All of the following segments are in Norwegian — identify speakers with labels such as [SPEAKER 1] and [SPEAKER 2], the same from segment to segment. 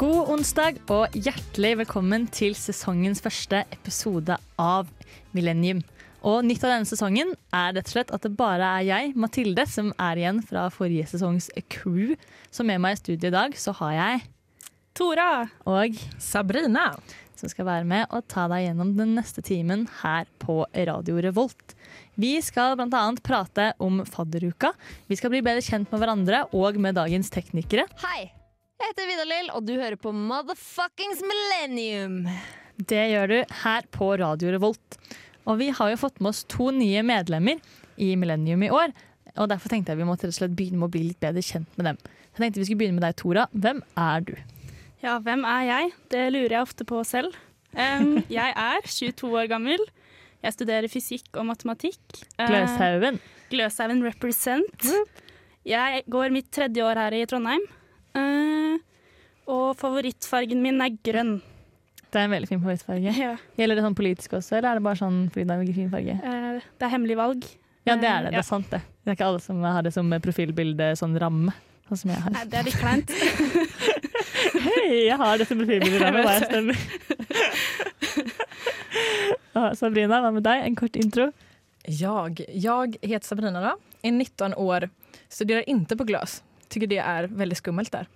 [SPEAKER 1] God onsdag og hjertelig velkommen til sesongens første episode av Millennium. Og nytt av denne sesongen er rett og slett at det bare er jeg, Mathilde, som er igjen fra forrige sesongs crew. Så med meg i studio i dag så har jeg
[SPEAKER 2] Tora.
[SPEAKER 1] og
[SPEAKER 3] Sabrina.
[SPEAKER 1] som skal være med og ta deg gjennom den neste timen her på Radio Revolt. Vi skal bl.a. prate om fadderuka. Vi skal bli bedre kjent med hverandre og med dagens teknikere.
[SPEAKER 4] Hei, jeg heter Vidar-Lill, og du hører på Motherfuckings Millennium.
[SPEAKER 1] Det gjør du her på Radio Revolt. Og vi har jo fått med oss to nye medlemmer i Millennium i år. Og derfor tenkte jeg vi måtte rett og slett begynne med å bli litt bedre kjent med dem. Så jeg tenkte vi skulle begynne med deg, Tora. Hvem er du?
[SPEAKER 2] Ja, hvem er jeg? Det lurer jeg ofte på selv. Em, jeg er 22 år gammel. Jeg studerer fysikk og matematikk. Eh,
[SPEAKER 1] Gløshaugen.
[SPEAKER 2] Gløshaugen represent. Jeg går mitt tredje år her i Trondheim. Eh, og favorittfargen min er grønn.
[SPEAKER 1] Det er en veldig fin favorittfarge.
[SPEAKER 2] Ja.
[SPEAKER 1] Gjelder det sånn politisk også, eller er det bare sånn fordi det er en veldig fin farge?
[SPEAKER 2] Eh, det er hemmelig valg.
[SPEAKER 1] Ja, det er det. Det
[SPEAKER 2] Ja.
[SPEAKER 1] er sant, det. Det er ikke alle som har det som profilbilde, sånn ramme. Sånn som jeg har.
[SPEAKER 2] Nei, det er litt kleint.
[SPEAKER 1] Hei, jeg har det som profilbilde, ramme, hva jeg stemmer. Ja, Sabrina, hva med deg? En kort intro.
[SPEAKER 3] Jag, jag heter Sabrina, då, är 19 år, studerar inte på GLAS. Tycker det är väldigt skummelt där.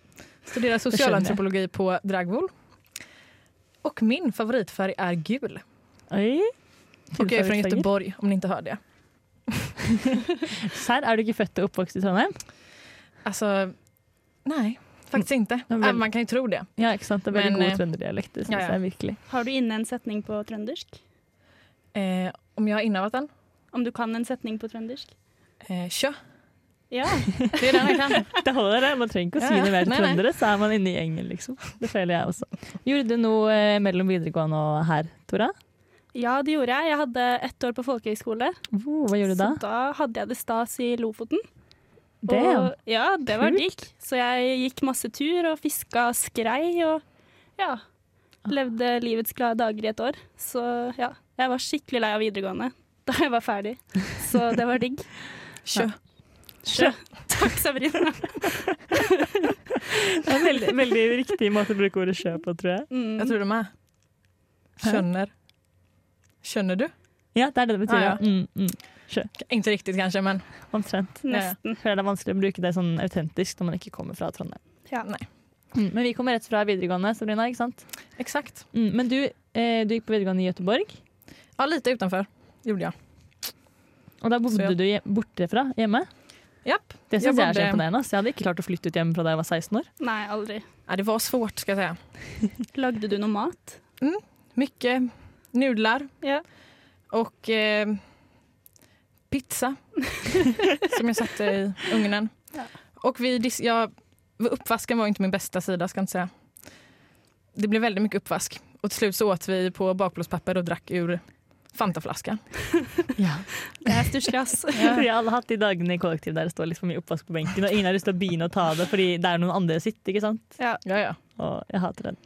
[SPEAKER 3] Studerar socialantropologi på Dragvool. Och min favoritfärg är gul.
[SPEAKER 1] Oi.
[SPEAKER 3] Och jag är från
[SPEAKER 1] Hudfargefarger.
[SPEAKER 3] Göteborg, om ni inte hör det.
[SPEAKER 1] Serr, er du ikke født og oppvokst i Trondheim?
[SPEAKER 3] Alltså, nej, faktiskt inte.
[SPEAKER 1] men väl-
[SPEAKER 3] Äh, Man kan ju tro det.
[SPEAKER 1] Ja, ikke sant? Det er veldig
[SPEAKER 3] Men, eh,
[SPEAKER 1] god trønderdialekt. Det synes
[SPEAKER 3] ja, ja.
[SPEAKER 1] jeg virkelig.
[SPEAKER 2] Har du inne en setning på trøndersk?
[SPEAKER 3] Eh, om jag har innehaft den?
[SPEAKER 2] Om du kan en setning på trøndersk?
[SPEAKER 3] Eh, kö.
[SPEAKER 2] Ja.
[SPEAKER 3] Det är den jag kan.
[SPEAKER 1] Det holder, det. Man trenger ikke å si
[SPEAKER 3] Ja, ja.
[SPEAKER 1] noe mer til
[SPEAKER 3] Nei, nei.
[SPEAKER 1] trøndere, så er man inne i gjengen, liksom. Det føler jeg også. Gjorde du noe eh, mellom videregående og her, Tora?
[SPEAKER 2] ja, det gjorde jeg. Jeg hadde ett år på folkehøyskole.
[SPEAKER 1] Oh, hva gjorde du da?
[SPEAKER 3] Sånn,
[SPEAKER 2] Så da hadde jeg det stas i Lofoten.
[SPEAKER 1] Damn.
[SPEAKER 2] Og, ja, det var
[SPEAKER 1] Kult.
[SPEAKER 2] digg. Så jeg gikk masse tur og fiska skrei og ja.
[SPEAKER 1] Ah.
[SPEAKER 2] Levde livets glade dager i et år. Så ja, jeg var skikkelig lei av videregående da jeg var ferdig. Så det var digg.
[SPEAKER 3] Kö.
[SPEAKER 2] Så, takk, Sabrina.
[SPEAKER 1] Det er en veldig, veldig riktig måte å bruke ordet sjø på, tror jeg.
[SPEAKER 2] Mm.
[SPEAKER 3] Jag tror de är. Känner. Känner du?
[SPEAKER 1] Ja, det er det det betyr.
[SPEAKER 3] Ja,
[SPEAKER 1] Ja,
[SPEAKER 3] ja.
[SPEAKER 1] Mm, mm.
[SPEAKER 3] Inte riktigt kanske, men
[SPEAKER 1] Omtrent.
[SPEAKER 2] Nesten.
[SPEAKER 1] Jeg føler det er vanskelig å bruke det sånn autentisk når man ikke kommer fra Trondheim.
[SPEAKER 2] Ja.
[SPEAKER 3] Nei.
[SPEAKER 1] Mm, men vi kommer rett fra videregående, Sabrina. ikke sant?
[SPEAKER 3] exakt.
[SPEAKER 1] Mm, men du, eh, du gikk på videregående i Gøteborg,
[SPEAKER 3] Ja, lite utanför gjorde jag.
[SPEAKER 1] og da bodde
[SPEAKER 3] Så ja.
[SPEAKER 1] du hje- borte fra hjemme?
[SPEAKER 3] Japp.
[SPEAKER 1] Det
[SPEAKER 3] Jeg
[SPEAKER 1] synes jeg er så
[SPEAKER 3] bodde-
[SPEAKER 1] imponerende. ass. Jeg hadde ikke klart å flytte ut hjemme fra da jeg var 16 år.
[SPEAKER 2] Nei, aldri.
[SPEAKER 3] Ja, det var svårt ska jag säga.
[SPEAKER 2] Lagde du noe mat?
[SPEAKER 3] Mycket nudlar
[SPEAKER 2] Ja.
[SPEAKER 3] och eh, pizza som jag satte i ugnen.
[SPEAKER 2] Ja.
[SPEAKER 3] Och vi, dis- jag, uppvasken var inte min bästa sida ska jag inte säga. Det blev väldigt mycket uppvask och till slut så åt vi på bakblåspapper och drack ur Fantaflaskan.
[SPEAKER 1] Ja.
[SPEAKER 2] Det er stusslig, ass.
[SPEAKER 1] Vi har alle hatt de dagene i kollektiv der det står litt for mye oppvask på benken, og ingen har lyst til å begynne å ta det fordi det er noen andre sitt, ikke sant?
[SPEAKER 3] Ja, ja.
[SPEAKER 1] Og jeg hater den.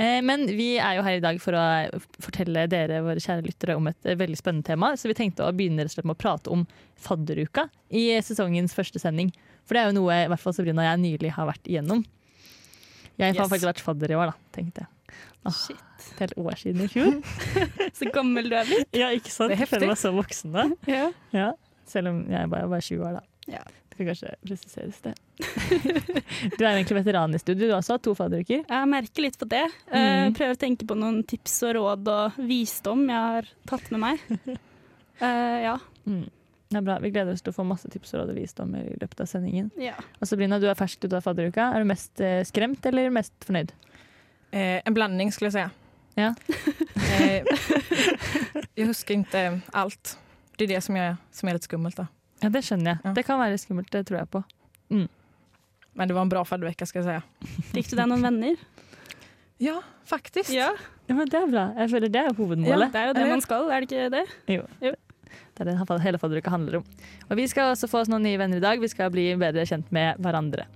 [SPEAKER 1] Eh, men vi er jo her i dag for å eh, fortelle dere, våre kjære lyttere, om et eh, veldig spennende tema. Så vi tenkte å begynne rett og slett med å prate om fadderuka i eh, sesongens første sending. For det er jo noe i hvert fall Sabrina og jeg nylig har vært igjennom. Jeg har
[SPEAKER 3] Yes.
[SPEAKER 1] faktisk vært fadder i år, da, tenkte jeg.
[SPEAKER 2] Shit.
[SPEAKER 1] Et helt år siden i fjor.
[SPEAKER 2] Så gammel du er blitt.
[SPEAKER 1] ja, ikke sant?
[SPEAKER 3] Det er
[SPEAKER 1] Jeg føler meg
[SPEAKER 3] heftig.
[SPEAKER 1] så voksen da.
[SPEAKER 2] Ja.
[SPEAKER 1] Ja, selv om jeg bare, jeg er bare 20 år da.
[SPEAKER 2] Ja.
[SPEAKER 1] Det skal kanskje presiseres det. du er jo egentlig veteran i studio, du også har to fadderuker.
[SPEAKER 2] Jeg merker litt på det. Eh, prøver å tenke på noen tips og råd og visdom jeg har tatt med meg. Eh, ja.
[SPEAKER 1] Mm. Det er bra. Vi gleder oss til å få masse tips og råd og visdom i løpet av sendingen.
[SPEAKER 2] ja.
[SPEAKER 1] Og Sabrina, du er fersk ut av fadderuka. Er du mest eh, skremt eller mest fornøyd?
[SPEAKER 3] Eh, en blandning skulle jag säga.
[SPEAKER 1] Ja.
[SPEAKER 3] eh, jag huskar inte allt. Det är det som, jag, som är lite skummelt. Då.
[SPEAKER 1] Ja, det skjønner jeg.
[SPEAKER 3] Ja.
[SPEAKER 1] Det kan være skummelt, det tror jeg på.
[SPEAKER 3] Men det var en bra faddervecka ska jag säga.
[SPEAKER 2] Fikk du deg noen venner?
[SPEAKER 3] Ja, faktiskt.
[SPEAKER 1] Ja, men Det er bra. Jeg føler det er
[SPEAKER 2] Ja,
[SPEAKER 1] hovedmålet.
[SPEAKER 2] det er jo det man skal, er det ikke det?
[SPEAKER 1] Det er det fa- hele fadderuka handler om. Og Vi skal også få oss noen nye venner i dag. Vi skal bli bedre kjent med hverandre.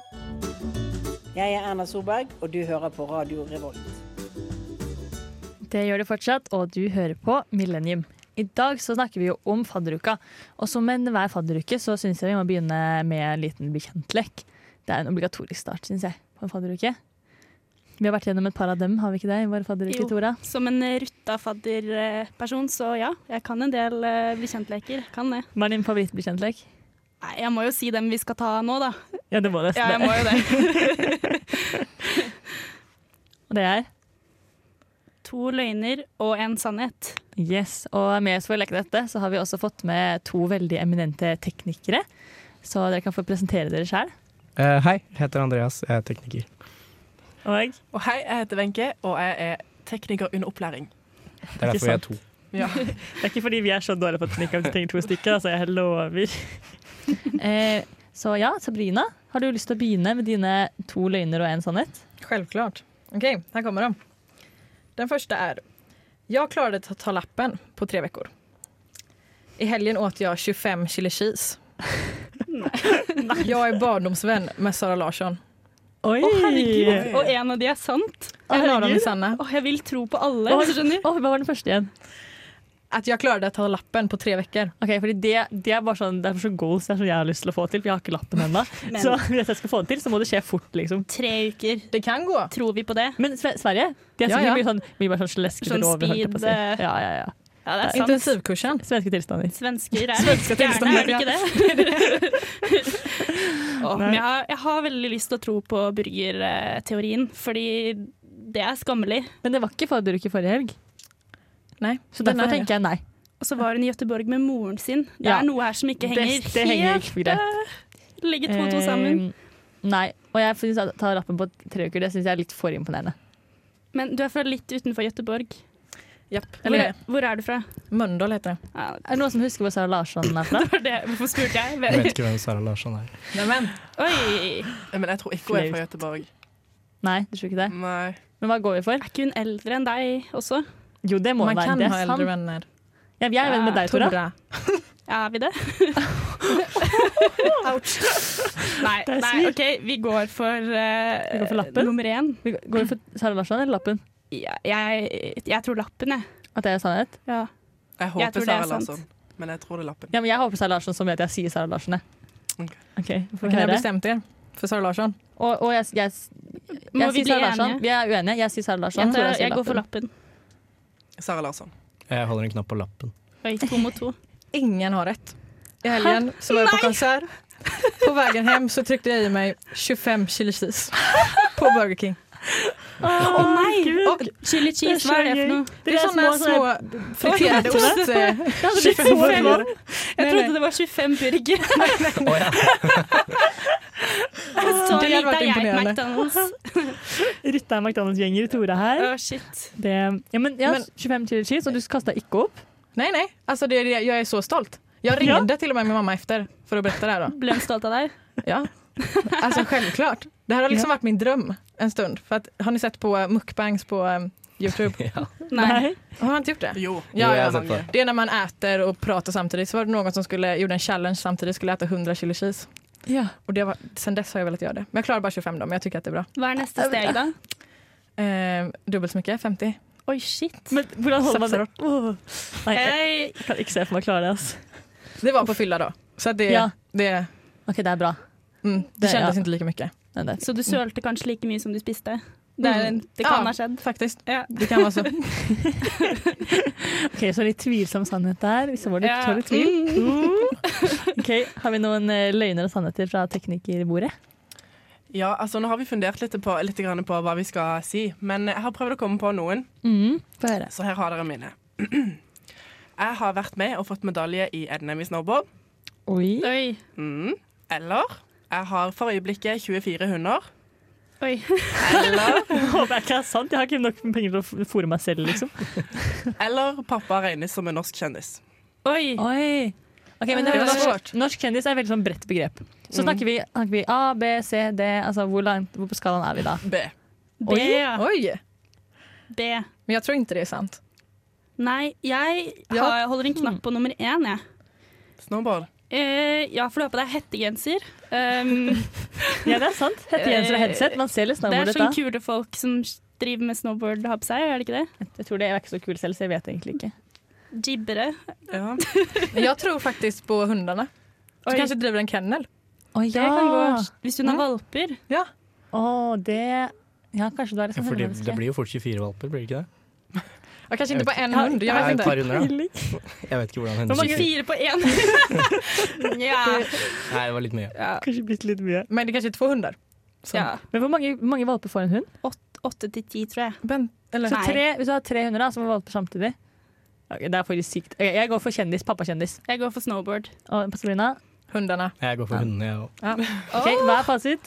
[SPEAKER 5] Jeg er Erna Solberg, og du hører på Radio Revolt.
[SPEAKER 1] Det gjør det fortsatt, og du hører på Millennium. I dag så snakker vi jo om fadderuka. Og som enhver fadderuke så syns jeg vi må begynne med en liten bekjentlek. Det er en obligatorisk start, syns jeg, på en fadderuke. Vi har vært gjennom et par av dem, har vi ikke det? i Våre fadderuker,
[SPEAKER 2] Jo.
[SPEAKER 1] Tora.
[SPEAKER 2] Som en rutta fadderperson, så ja, jeg kan en del eh, bekjentleker. Kan det.
[SPEAKER 1] Hva er din favorittbekjentlek?
[SPEAKER 2] Nei, jeg må jo si dem vi skal ta nå, da.
[SPEAKER 1] Ja, det må nesten
[SPEAKER 2] Ja, jeg må jo det.
[SPEAKER 1] Og det er
[SPEAKER 2] To løgner og en sannhet.
[SPEAKER 1] Yes, og med oss for å leke dette så har vi også fått med to veldig eminente teknikere. Så dere kan få presentere dere sjøl.
[SPEAKER 6] Eh, hei, jeg heter Andreas, jeg er tekniker.
[SPEAKER 1] Og
[SPEAKER 7] Og hei, jeg heter Wenche, og jeg er tekniker under opplæring.
[SPEAKER 6] Det er derfor vi er to.
[SPEAKER 7] Ja.
[SPEAKER 1] det er ikke fordi vi er så dårlige på teknikk at vi trenger to stykker. altså jeg lover. eh, så ja, Sabrina, har du lyst til å begynne med dine to løgner og en sannhet?
[SPEAKER 3] Självklart. Okej, här kommer de. Den första är. Jag klarade att ta lappen på tre veckor. I helgen åt jag 25 chili cheese. jag är barndomsvän med Sara Larsson.
[SPEAKER 1] Oi!
[SPEAKER 2] Å, herregud. Og en av de er sant.
[SPEAKER 3] En av dem är
[SPEAKER 2] Herregud.
[SPEAKER 3] sanna.
[SPEAKER 2] Å, jeg vil tro på alle.
[SPEAKER 1] Oi.
[SPEAKER 2] hvis du skjønner.
[SPEAKER 1] hva var den første igjen?
[SPEAKER 3] Att jag klarade att ta lappen på tre veckor.
[SPEAKER 1] Ok, fordi det, det er bare sånn, det er så goals det er som jeg har lyst til å få til, for jeg har ikke lappen ennå.
[SPEAKER 2] Men-
[SPEAKER 1] Så hvis jeg skal få det til, så må det skje fort, liksom.
[SPEAKER 2] Tre uker.
[SPEAKER 3] Det kan gå.
[SPEAKER 2] Tror vi på det?
[SPEAKER 1] Men Sve- Sverige de er
[SPEAKER 3] Ja,
[SPEAKER 1] sikkert
[SPEAKER 3] ja.
[SPEAKER 1] mye sånn, mye bare sånn sleskete
[SPEAKER 2] Sånn
[SPEAKER 1] lover, holdt jeg på å si.
[SPEAKER 2] speed, eh.
[SPEAKER 1] Ja, ja, ja.
[SPEAKER 2] Ja, det er sant.
[SPEAKER 3] Intensivkursen.
[SPEAKER 1] Svenske tilstander.
[SPEAKER 2] Svensker er litt gærne, er de ikke det? Å, men jeg har, jeg har veldig lyst til å tro på burgerteorien, fordi det er skammelig.
[SPEAKER 1] Men det var ikke fadderuke forrige helg,
[SPEAKER 3] Nej,
[SPEAKER 1] så
[SPEAKER 3] den
[SPEAKER 1] derfor
[SPEAKER 3] är-
[SPEAKER 1] tenker jeg nei.
[SPEAKER 2] Og så var hun i Göteborg med moren sin. Det
[SPEAKER 1] Ja.
[SPEAKER 2] er noe her som ikke henger
[SPEAKER 1] det, det henger ikke på greit.
[SPEAKER 2] helt Legge to og to sammen.
[SPEAKER 1] Eh, nei, og jeg synes at å ta lappen på tre uker, det syns jeg er litt for imponerende.
[SPEAKER 2] Men du er fra litt utenfor Göteborg.
[SPEAKER 3] Japp.
[SPEAKER 2] Hvor,
[SPEAKER 3] Eller
[SPEAKER 2] hvor er du fra?
[SPEAKER 3] Mölndal heter det.
[SPEAKER 2] Ja,
[SPEAKER 1] Er det noen som husker hvor Sara Larsson er fra?
[SPEAKER 2] det var det. Hvorfor spurte jeg?
[SPEAKER 6] Jeg vet
[SPEAKER 2] Vel-
[SPEAKER 6] ikke hvem Sara Larsson er.
[SPEAKER 3] Nämen.
[SPEAKER 2] Oi!
[SPEAKER 7] Eh, Men jeg tror ikke hun er fra Göteborg.
[SPEAKER 1] Nei, du tror ikke det?
[SPEAKER 7] Nei.
[SPEAKER 1] Men hva går vi for?
[SPEAKER 2] Er ikke hun eldre enn deg også?
[SPEAKER 1] Jo, det må det
[SPEAKER 3] Man
[SPEAKER 1] være.
[SPEAKER 3] kan
[SPEAKER 1] Det
[SPEAKER 3] ha
[SPEAKER 1] er
[SPEAKER 3] äldre
[SPEAKER 1] sant.
[SPEAKER 3] vänner.
[SPEAKER 1] Ja, jeg er venn med deg, Tora.
[SPEAKER 3] Tora.
[SPEAKER 2] Er vi det? Nei, nei, OK, vi går for, eh,
[SPEAKER 1] Vi går for lappen?
[SPEAKER 2] nummer én.
[SPEAKER 1] Vi går- Går vi for Sara Larsson eller lappen?
[SPEAKER 2] Ja, jeg, jeg tror lappen, jeg.
[SPEAKER 1] At det er sannhet?
[SPEAKER 2] Ja.
[SPEAKER 7] Jeg
[SPEAKER 2] Jeg tror det
[SPEAKER 7] håper
[SPEAKER 2] er
[SPEAKER 7] Sara
[SPEAKER 2] sant.
[SPEAKER 7] Larsson, men jeg tror det er lappen.
[SPEAKER 1] Ja, men jeg håper Sara Larsson så mye at jeg sier Sara Larsen, jeg.
[SPEAKER 7] Ok.
[SPEAKER 1] OK, vi får
[SPEAKER 3] Kan ni ha
[SPEAKER 1] høre.
[SPEAKER 3] bestämt er för Sara Larsson?
[SPEAKER 1] Og, og jeg, jeg,
[SPEAKER 2] Må
[SPEAKER 1] jeg sier
[SPEAKER 2] vi bli
[SPEAKER 1] Sara Larsson.
[SPEAKER 2] enige?
[SPEAKER 1] Vi er uenige. Jeg sier Sara Larsson.
[SPEAKER 2] sånn. Jeg,
[SPEAKER 1] Tora
[SPEAKER 2] tar,
[SPEAKER 1] sier
[SPEAKER 2] jeg går for lappen.
[SPEAKER 7] Sara Larsson.
[SPEAKER 6] Jeg holder en knapp på lappen.
[SPEAKER 2] Oi, to mot to.
[SPEAKER 3] Ingen har rätt. I helgen så var jag på konsert. På vägen hem så tryckte jag i mig 25 chili cheese på Burger King.
[SPEAKER 2] Å nei! Og chili cheese, hva er det for noe?
[SPEAKER 3] Det är sådana små friterade ost... eh,
[SPEAKER 1] Det hadde blitt så bra.
[SPEAKER 3] burgare.
[SPEAKER 2] Jeg
[SPEAKER 3] nei.
[SPEAKER 2] trodde det var 25 burger. Så
[SPEAKER 3] Det hadde
[SPEAKER 2] lite
[SPEAKER 3] vært
[SPEAKER 2] er jeg
[SPEAKER 3] imponerende.
[SPEAKER 2] McDonald's.
[SPEAKER 1] Rytta er McDonald's-gjenger i Tora her.
[SPEAKER 2] Å, shit.
[SPEAKER 1] Det, ja, men, ja,
[SPEAKER 3] Men-
[SPEAKER 1] 25 chili cheese, og du kasta ikke opp?
[SPEAKER 3] Nej, nej. Alltså det, det- jag är så stolt. Jag
[SPEAKER 1] Ja.
[SPEAKER 3] ringde till och med min mamma efter för att berätta det här. Då.
[SPEAKER 2] Ble hun stolt av deg?
[SPEAKER 3] Ja. Alltså självklart. Det här har liksom varit min dröm en stund. För att, har ni sett på eh, mukbangs på eh, Youtube?
[SPEAKER 2] Nei.
[SPEAKER 3] Har man inte gjort det?
[SPEAKER 7] Jo.
[SPEAKER 3] Ja,
[SPEAKER 7] jo,
[SPEAKER 3] ja,
[SPEAKER 7] jeg har
[SPEAKER 3] mange.
[SPEAKER 7] sett det.
[SPEAKER 3] Det är när man äter och pratar samtidigt. Så var det någon som skulle, gjorde en challenge samtidigt skulle äta 100 chili cheese.
[SPEAKER 1] Ja.
[SPEAKER 3] Och det var, sen dess har jag velat göra det. Men jag klarar bara 25 då, men jag tycker att det är bra.
[SPEAKER 2] Hva er neste steg, da?
[SPEAKER 3] Eh, dubbelt så mycket, 50.
[SPEAKER 2] Oi, shit.
[SPEAKER 1] Men hvordan holder man det?
[SPEAKER 3] Satser
[SPEAKER 1] Åh. Nei, jeg
[SPEAKER 2] Hey.
[SPEAKER 1] jeg kan ikke se for meg å klare det. Altså.
[SPEAKER 3] Det var på fylla då. Så att det,
[SPEAKER 1] Ja.
[SPEAKER 3] det,
[SPEAKER 1] OK, det er bra.
[SPEAKER 3] mm, det,
[SPEAKER 1] Det-
[SPEAKER 3] kändes
[SPEAKER 1] ja.
[SPEAKER 3] inte lika mycket.
[SPEAKER 1] Nei, det er fint.
[SPEAKER 2] Så du sølte kanskje like mye som du spiste? Det, er en, det
[SPEAKER 3] Ja.
[SPEAKER 2] kan ha skjedd.
[SPEAKER 3] Faktiskt.
[SPEAKER 2] Ja.
[SPEAKER 3] Det kan vara så.
[SPEAKER 1] OK, så litt tvilsom sannhet der. Så var det
[SPEAKER 2] Ja.
[SPEAKER 1] så litt tvil. OK, har vi noen eh, løgner og sannheter fra teknikerbordet?
[SPEAKER 7] Ja, altså Nå har vi fundert litt på, litt grann på hva vi skal si, men jeg har prøvd å komme på noen.
[SPEAKER 1] Mm. Få høre.
[SPEAKER 7] Så her har dere mine. Jeg har vært med og fått medalje i NM i snowboard.
[SPEAKER 1] Oi.
[SPEAKER 2] Oi.
[SPEAKER 7] Mm. Eller jeg har for øyeblikket 24 hunder.
[SPEAKER 2] Oi.
[SPEAKER 7] Eller,
[SPEAKER 1] Håper jeg ikke er sant. Jeg har ikke nok penger til å f- fôre meg selv, liksom.
[SPEAKER 7] eller pappa regnes som en norsk kjendis.
[SPEAKER 2] Oi.
[SPEAKER 1] Oi. Eh. Ok, men det er
[SPEAKER 3] Det var
[SPEAKER 1] veldig norsk,
[SPEAKER 3] svårt.
[SPEAKER 1] norsk kjendis er et veldig sånn bredt begrep. Så snakker vi, snakker vi A, B, C, D. Altså, hvor, langt, hvor på skalaen er vi da?
[SPEAKER 7] B.
[SPEAKER 2] B. ja.
[SPEAKER 3] Oj!
[SPEAKER 2] B.
[SPEAKER 3] Men jag tror inte det är sant.
[SPEAKER 2] Nei, jeg
[SPEAKER 3] Ja.
[SPEAKER 2] har, holder en knapp på nummer én, jeg.
[SPEAKER 7] Snowboard.
[SPEAKER 2] Eh, ja, for du har på deg hettegenser. Um,
[SPEAKER 1] Ja, det er sant. Hettegenser og headset. Man ser litt
[SPEAKER 2] det er
[SPEAKER 1] snowboardet da.
[SPEAKER 2] sånn kule folk som driver med snowboard, har på seg, er det ikke det?
[SPEAKER 1] Jeg tror det er ikke så kul selv, så jeg vet egentlig ikke.
[SPEAKER 2] Jibbere.
[SPEAKER 7] Ja.
[SPEAKER 3] Men jag tror faktiskt på hundarna. Du
[SPEAKER 2] Oi.
[SPEAKER 3] kanske driver en kennel?
[SPEAKER 1] Å
[SPEAKER 2] Det kan gå hvis hun har valper.
[SPEAKER 3] Ja.
[SPEAKER 1] det Ja, kanskje du er litt
[SPEAKER 6] Ja,
[SPEAKER 1] sånn
[SPEAKER 6] fordi
[SPEAKER 1] selvmordisk,
[SPEAKER 6] det blir jo fort 24 valper, blir det ikke det?
[SPEAKER 3] Ja, kanskje ikke på en
[SPEAKER 1] Ja,
[SPEAKER 3] hund. Jeg
[SPEAKER 6] Nei,
[SPEAKER 3] vet
[SPEAKER 6] et
[SPEAKER 3] ikke.
[SPEAKER 6] par runder, da. Jeg vet ikke hvordan
[SPEAKER 2] Hvor
[SPEAKER 6] hennes
[SPEAKER 2] mange fire på én? ja.
[SPEAKER 6] Nei, det var litt mye.
[SPEAKER 2] ja.
[SPEAKER 1] ja. Kanskje blitt litt mye.
[SPEAKER 3] Men det er kanskje to hunder.
[SPEAKER 2] ja.
[SPEAKER 1] Men hvor mange, hvor mange valper får en hund?
[SPEAKER 2] Åtte til ti, tror jeg.
[SPEAKER 3] Ben, eller,
[SPEAKER 1] Så
[SPEAKER 2] Nei.
[SPEAKER 1] tre, hvis du har tre hunder da, som har valper samtidig Ok, Det er faktisk sykt. Ok, Jeg går for kjendis, pappakjendis.
[SPEAKER 2] Jeg går for snowboard.
[SPEAKER 1] Og Pasolina,
[SPEAKER 3] hundene.
[SPEAKER 6] Jeg går for hundene, jeg òg.
[SPEAKER 1] ok, hva er fasit?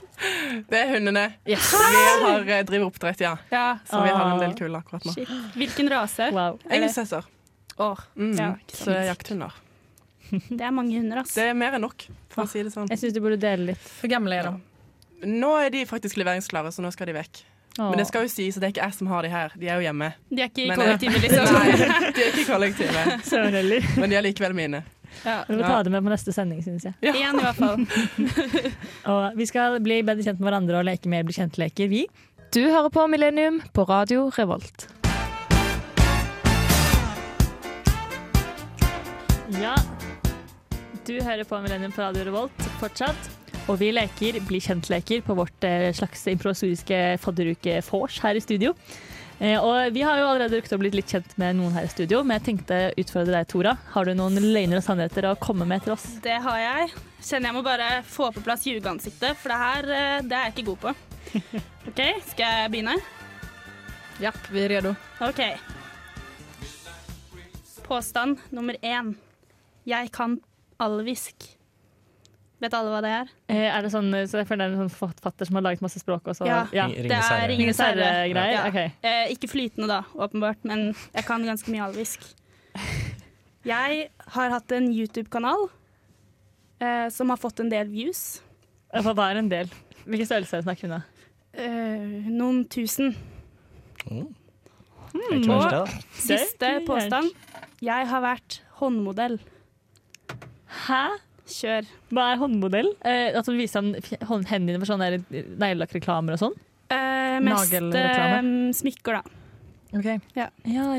[SPEAKER 7] Det er hundene.
[SPEAKER 1] Yes.
[SPEAKER 7] Vi har, eh, driver oppdrett, ja.
[SPEAKER 2] Ja,
[SPEAKER 7] Så vi har en del kule akkurat nå.
[SPEAKER 2] shit. Hvilken rase?
[SPEAKER 1] Wow.
[SPEAKER 7] Engelsesser.
[SPEAKER 2] Åh,
[SPEAKER 7] Mm.
[SPEAKER 2] Ja, ikke
[SPEAKER 7] så
[SPEAKER 2] sant.
[SPEAKER 7] jakthunder.
[SPEAKER 2] det er mange hunder, ass.
[SPEAKER 7] Det er mer enn nok, for å si det sånn.
[SPEAKER 1] Jeg syns du burde dele litt.
[SPEAKER 3] Hvor gamle er de?
[SPEAKER 7] Nå er de faktisk leveringsklare, så nå skal de vekk. Men det skal jo sies at det er ikke jeg som har de her. De er jo hjemme.
[SPEAKER 2] De er ikke i
[SPEAKER 7] Men-
[SPEAKER 2] kollektivet,
[SPEAKER 7] Nei,
[SPEAKER 2] liksom.
[SPEAKER 7] de er ikke i kollektivet,
[SPEAKER 1] Søren heller.
[SPEAKER 7] men de er likevel mine.
[SPEAKER 2] Ja.
[SPEAKER 1] Vi må ta det med på neste sending, syns jeg.
[SPEAKER 7] Ja.
[SPEAKER 2] Én, i hvert fall.
[SPEAKER 1] Og vi skal bli bedre kjent med hverandre og leke mer bli kjent-leker, vi.
[SPEAKER 8] Du hører på Millennium på Radio Revolt.
[SPEAKER 1] Ja. Du hører på Millennium på Radio Revolt fortsatt. Og vi leker bli kjent-leker på vårt eh, slags improvisoriske fadderuke-vors her i studio. Eh, og vi har jo allerede rukket å bli litt kjent med noen her i studio, men jeg tenkte å utfordre deg, Tora. Har du noen løgner og sannheter å komme med til oss?
[SPEAKER 2] Det har jeg. Kjenner jeg må bare få på plass ljugeansiktet, for det her eh, det er jeg ikke god på. OK, skal jeg begynne?
[SPEAKER 3] Japp, vi er redo.
[SPEAKER 2] OK. Påstand nummer én. Jeg kan alvisk. Vet alle hva det er?
[SPEAKER 1] Eh, er det sånn, så jeg føler det er en sånn forfatter som har laget masse språk og så
[SPEAKER 2] Ja.
[SPEAKER 6] Ring-
[SPEAKER 2] det
[SPEAKER 6] Ringenes
[SPEAKER 2] er
[SPEAKER 6] Herre.
[SPEAKER 2] Ringenes herre.
[SPEAKER 1] greier
[SPEAKER 2] Ja.
[SPEAKER 1] Ok.
[SPEAKER 2] Eh, ikke flytende, da, åpenbart, men jeg kan ganske mye alvisk. Jeg har hatt en YouTube-kanal eh, som har fått en del views.
[SPEAKER 1] Hva hva er en del? Hvilken størrelse er det snakker vi om da?
[SPEAKER 2] Eh, noen tusen.
[SPEAKER 6] Det er ikke verst, det, da.
[SPEAKER 1] Det er
[SPEAKER 2] Siste
[SPEAKER 1] ikke
[SPEAKER 2] påstand. Jeg har vært håndmodell.
[SPEAKER 1] Mm. Hæ?
[SPEAKER 2] Kjør.
[SPEAKER 1] Hva er håndmodell? Eh, at du viser ham f- hånd- hendene for sånne der neglelakkreklamer og sånn?
[SPEAKER 2] Eh, mest eh,
[SPEAKER 3] Nagelreklame.
[SPEAKER 2] smykker, da.
[SPEAKER 3] Ok.
[SPEAKER 1] Ja,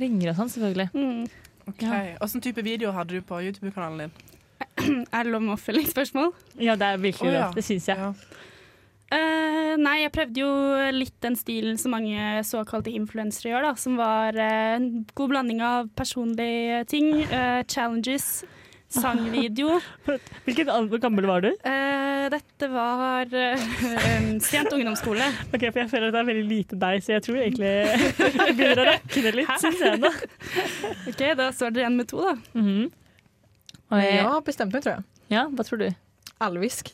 [SPEAKER 1] ringer og sånn, selvfølgelig.
[SPEAKER 2] Mm.
[SPEAKER 7] Ok, Åssen type videoer hadde du på YouTube-kanalen din?
[SPEAKER 2] Er det lov med oppfølgingsspørsmål?
[SPEAKER 1] Ja, det er virkelig
[SPEAKER 7] Å, ja.
[SPEAKER 1] det. Det syns jeg.
[SPEAKER 7] Ja.
[SPEAKER 2] Eh, nei, jeg prøvde jo litt den stilen som mange såkalte influensere gjør, da. Som var eh, en god blanding av personlige ting, eh, challenges, sangvideo.
[SPEAKER 1] Hvilken alder, hvor gammel var du?
[SPEAKER 2] Eh, dette var eh, sent ungdomsskole.
[SPEAKER 1] Ok, for Jeg føler at det er veldig lite deg, så jeg tror egentlig jeg begynner å rakne litt. Synes jeg nå.
[SPEAKER 2] Ok, Da står dere igjen med to, da.
[SPEAKER 1] Mhm. Eh, Og
[SPEAKER 3] Men jeg
[SPEAKER 1] jeg,
[SPEAKER 3] har bestemt meg, tror jeg.
[SPEAKER 1] ja, hva tror du?
[SPEAKER 3] Alvisk.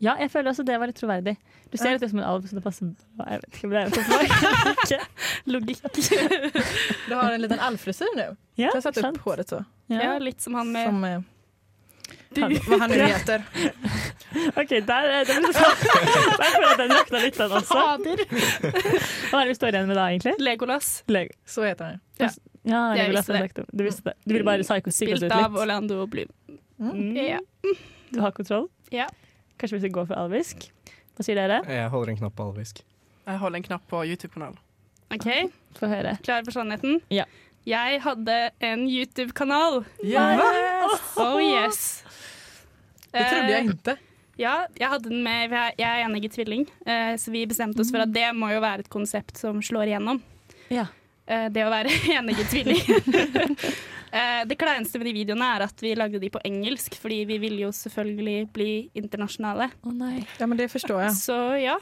[SPEAKER 1] Ja, jeg føler også det var litt troverdig. Du ser litt ut som en alv, så det passer bra. Jeg vet ikke om det er et kompliment. Ok.
[SPEAKER 2] Logikk.
[SPEAKER 3] Du har en liten alvfrisyr nå.
[SPEAKER 1] Ja,
[SPEAKER 3] Du har satt
[SPEAKER 1] sant.
[SPEAKER 3] opp håret så.
[SPEAKER 2] Ja, litt som han med
[SPEAKER 3] Som eh,
[SPEAKER 2] Du-
[SPEAKER 3] han, hva han nu heter.
[SPEAKER 1] OK, der, eh, er- den, der føler jeg den rakna litt, den også.
[SPEAKER 2] Fader!
[SPEAKER 1] Hva er det vi står igjen med da, egentlig?
[SPEAKER 2] Legolas.
[SPEAKER 1] Lego.
[SPEAKER 3] Så heter han.
[SPEAKER 1] Ja,
[SPEAKER 2] Jeg
[SPEAKER 1] Legolas
[SPEAKER 2] visste
[SPEAKER 1] har
[SPEAKER 2] det. Mm.
[SPEAKER 1] sagt det. Du visste det. Du ville bare psyko-psyke oss
[SPEAKER 2] Spilt
[SPEAKER 1] ut
[SPEAKER 2] av
[SPEAKER 1] litt.
[SPEAKER 2] Orlando Bloom.
[SPEAKER 1] Mm.
[SPEAKER 2] Ja.
[SPEAKER 1] Du har kontroll?
[SPEAKER 2] Ja.
[SPEAKER 1] Kanskje vi skal gå for alvisk? Hva sier dere?
[SPEAKER 6] Jeg holder en knapp på alvisk.
[SPEAKER 7] Jeg holder en knapp på YouTube-kanalen.
[SPEAKER 2] OK,
[SPEAKER 1] Få høre.
[SPEAKER 2] klar for sannheten?
[SPEAKER 1] Ja.
[SPEAKER 2] Jeg hadde en YouTube-kanal. Oh yes! Eh,
[SPEAKER 3] Det trodde jeg ikke.
[SPEAKER 2] Ja, jeg hadde den med vi er- Jeg er enegget tvilling, eh, så vi bestemte oss for
[SPEAKER 3] Mm.
[SPEAKER 2] at det må jo være et konsept som slår igjennom.
[SPEAKER 1] Ja.
[SPEAKER 2] Eh, Det å være enegget tvilling. Eh, Det kleineste med de videoene er at vi lagde de på engelsk, fordi vi ville jo selvfølgelig bli internasjonale.
[SPEAKER 1] Å nei.
[SPEAKER 3] Ja, men det forstår jeg.
[SPEAKER 2] Så ja.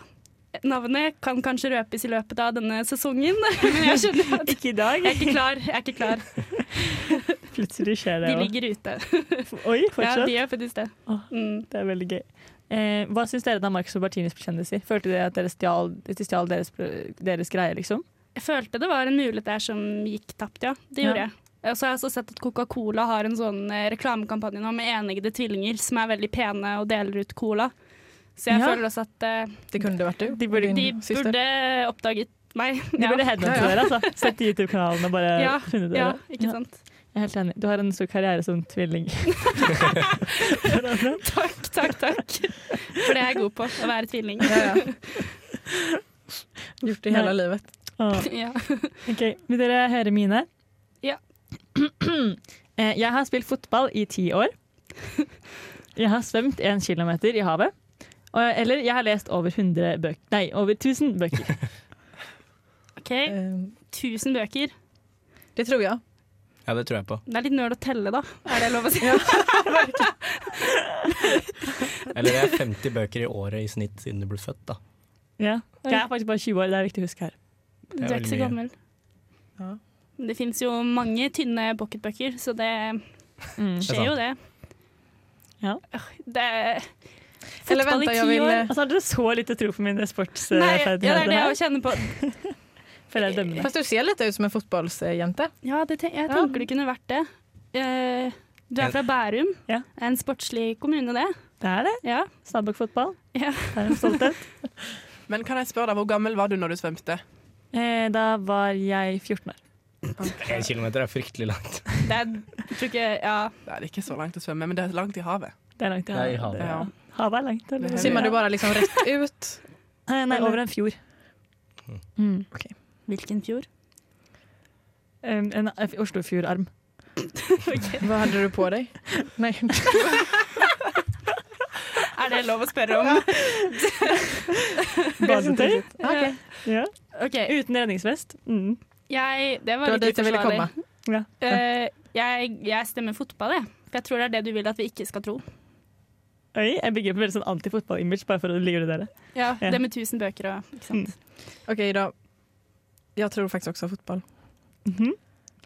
[SPEAKER 2] Navnet kan kanskje røpes i løpet av denne sesongen, men jeg skjønner at
[SPEAKER 1] Ikke i dag.
[SPEAKER 2] jeg er ikke klar. Jeg er ikke klar.
[SPEAKER 1] Plutselig skjer det.
[SPEAKER 2] De
[SPEAKER 1] jo.
[SPEAKER 2] ligger ute.
[SPEAKER 1] Oi,
[SPEAKER 2] Ja,
[SPEAKER 1] fortsatt.
[SPEAKER 2] de gjør faktisk det.
[SPEAKER 1] Åh.
[SPEAKER 2] Mm.
[SPEAKER 1] Det er veldig gøy. Eh, hva syns dere da Marcus og Bertinis ble kjendiser? Følte dere at dere stjal, de stjal deres, deres greie, liksom?
[SPEAKER 2] Jeg følte det var en mulighet der som gikk tapt, ja. Det
[SPEAKER 1] Ja.
[SPEAKER 2] gjorde jeg. Og så har jeg også sett at Coca-Cola har en sånn eh, reklamekampanje nå med eneggede tvillinger som er veldig pene og deler ut cola. Så jeg
[SPEAKER 1] Ja.
[SPEAKER 2] føler også at eh,
[SPEAKER 3] Det kunne det vært du.
[SPEAKER 1] De burde-
[SPEAKER 3] og din
[SPEAKER 2] de
[SPEAKER 3] syster.
[SPEAKER 2] burde oppdaget meg.
[SPEAKER 1] De burde headhunte
[SPEAKER 3] Ja, ja.
[SPEAKER 1] dere, altså. Sett til YouTube-kanalen og bare
[SPEAKER 2] Ja,
[SPEAKER 1] funnet dere.
[SPEAKER 2] Ja, ikke sant.
[SPEAKER 1] Jeg er helt enig. Du har en stor karriere som tvilling.
[SPEAKER 2] Takk, takk, takk. For det er jeg god på, å være tvilling.
[SPEAKER 3] Ja, ja. Gjort det hele
[SPEAKER 1] Nei.
[SPEAKER 3] livet.
[SPEAKER 1] Åh.
[SPEAKER 2] Ja.
[SPEAKER 1] Ok, Vil dere høre mine?
[SPEAKER 2] Ja.
[SPEAKER 1] Eh, Jeg har spilt fotball i ti år. Jeg har svømt én kilometer i havet. Og- Eller jeg har lest over 100 bøk Nei, over 1000 bøker.
[SPEAKER 2] OK,
[SPEAKER 3] Eh,
[SPEAKER 2] 1000 bøker.
[SPEAKER 3] Det tror jeg.
[SPEAKER 6] Ja, det tror jeg på.
[SPEAKER 2] Det er litt nøl å telle, da. Er det lov å si?
[SPEAKER 6] Eller det er 50 bøker i året i snitt siden du ble født, da.
[SPEAKER 1] Ja. Jeg er faktisk bare 20 år, det er viktig å huske her.
[SPEAKER 2] Du er ikke så
[SPEAKER 6] veldig mye.
[SPEAKER 2] gammel.
[SPEAKER 3] Ja.
[SPEAKER 2] Men Det fins jo mange tynne pocketbøker, så det
[SPEAKER 6] Det er
[SPEAKER 2] skjer jo det.
[SPEAKER 1] Ja.
[SPEAKER 2] Øh, Det er
[SPEAKER 3] Eller
[SPEAKER 2] Fotball i
[SPEAKER 3] vent,
[SPEAKER 2] ti
[SPEAKER 3] jeg vil
[SPEAKER 2] år.
[SPEAKER 3] eh,
[SPEAKER 1] Altså, Har dere så lite tro på mine
[SPEAKER 2] Nei, ja, det er
[SPEAKER 1] sportsferdigheter
[SPEAKER 2] det
[SPEAKER 1] her?
[SPEAKER 2] jeg kjenner på.
[SPEAKER 1] Før jeg dømmer deg.
[SPEAKER 3] Fast du ser litt ut som en fotballjente.
[SPEAKER 2] Ja, det ten jeg tenker det kunne vært det. Eh, du er fra Bærum.
[SPEAKER 1] Ja.
[SPEAKER 2] Er En sportslig kommune, det.
[SPEAKER 1] Det er det.
[SPEAKER 2] Ja.
[SPEAKER 1] Stabæk fotball.
[SPEAKER 2] Ja.
[SPEAKER 1] Det er en stolthet.
[SPEAKER 7] Men kan jeg spørre deg, hvor gammel var du når du svømte?
[SPEAKER 1] Eh, Da var jeg 14 år.
[SPEAKER 6] En kilometer er fryktelig langt.
[SPEAKER 2] Det er jeg tror ikke Ja.
[SPEAKER 7] Nei, det er ikke så langt å svømme, men det er langt i havet.
[SPEAKER 1] Det er langt i
[SPEAKER 6] Det er i
[SPEAKER 1] havet.
[SPEAKER 6] havet.
[SPEAKER 7] Ja.
[SPEAKER 1] Havet er langt. eller?
[SPEAKER 7] Det er
[SPEAKER 3] Simmar du bare liksom rett ut?
[SPEAKER 1] Eh, Nei, over en fjord. Mm.
[SPEAKER 2] Hvilken fjord?
[SPEAKER 1] En, en Oslofjordarm.
[SPEAKER 3] Hva hadde du på deg? Nei.
[SPEAKER 2] Er det lov å spørre om?
[SPEAKER 1] Badetøy.
[SPEAKER 3] Ok.
[SPEAKER 1] Ja.
[SPEAKER 2] OK.
[SPEAKER 1] Uten redningsvest. Mm.
[SPEAKER 2] Jeg Det var
[SPEAKER 3] Det var
[SPEAKER 2] litt
[SPEAKER 3] dit jeg ville
[SPEAKER 2] uforsvarlig.
[SPEAKER 3] komme.
[SPEAKER 1] Ja.
[SPEAKER 2] Eh, jeg, jeg stemmer fotball, jeg. For jeg tror det er det du vil at vi ikke skal tro.
[SPEAKER 1] Oi, jeg bygger på veldig sånn antifotball-image bare for å lure dere.
[SPEAKER 2] Ja,
[SPEAKER 1] Ja.
[SPEAKER 2] Det med 1000 bøker og ikke sant?
[SPEAKER 3] Mm. Ok, da. Jeg tror faktisk også fotball.
[SPEAKER 1] Mhm.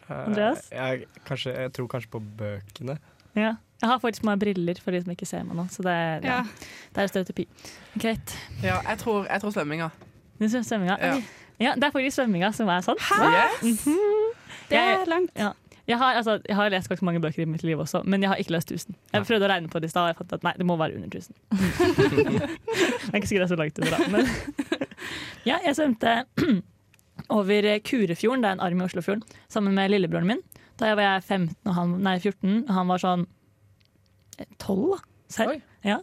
[SPEAKER 1] Andreas?
[SPEAKER 6] Eh, Jeg, kanskje, jeg tror kanskje på bøkene.
[SPEAKER 1] Ja. Jeg har faktisk på meg briller for de som ikke ser meg nå, så det er, ja.
[SPEAKER 2] Ja.
[SPEAKER 1] det er stereotypi. Greit.
[SPEAKER 7] Ja, jeg tror, jeg tror svømminga.
[SPEAKER 1] Det er svømminga.
[SPEAKER 7] Ja.
[SPEAKER 1] Ja, det er faktisk svømminga som er sånn. Mhm. sant.
[SPEAKER 2] Det er langt.
[SPEAKER 1] Jeg har, altså, jeg har lest ganske mange bøker i mitt liv også, men jeg har ikke lest 1000. Jeg prøvde å regne på det i stad, og jeg fant at nei, det må være under 1000. det er ikke sikkert det er så langt under, da. Men ja, jeg svømte over Kurefjorden, det er en arm i Oslofjorden, sammen med lillebroren min. Da jeg var jeg 15, og han, nei, 14, og han var sånn eh, 12, da. Selv.
[SPEAKER 3] Oi.
[SPEAKER 1] Ja.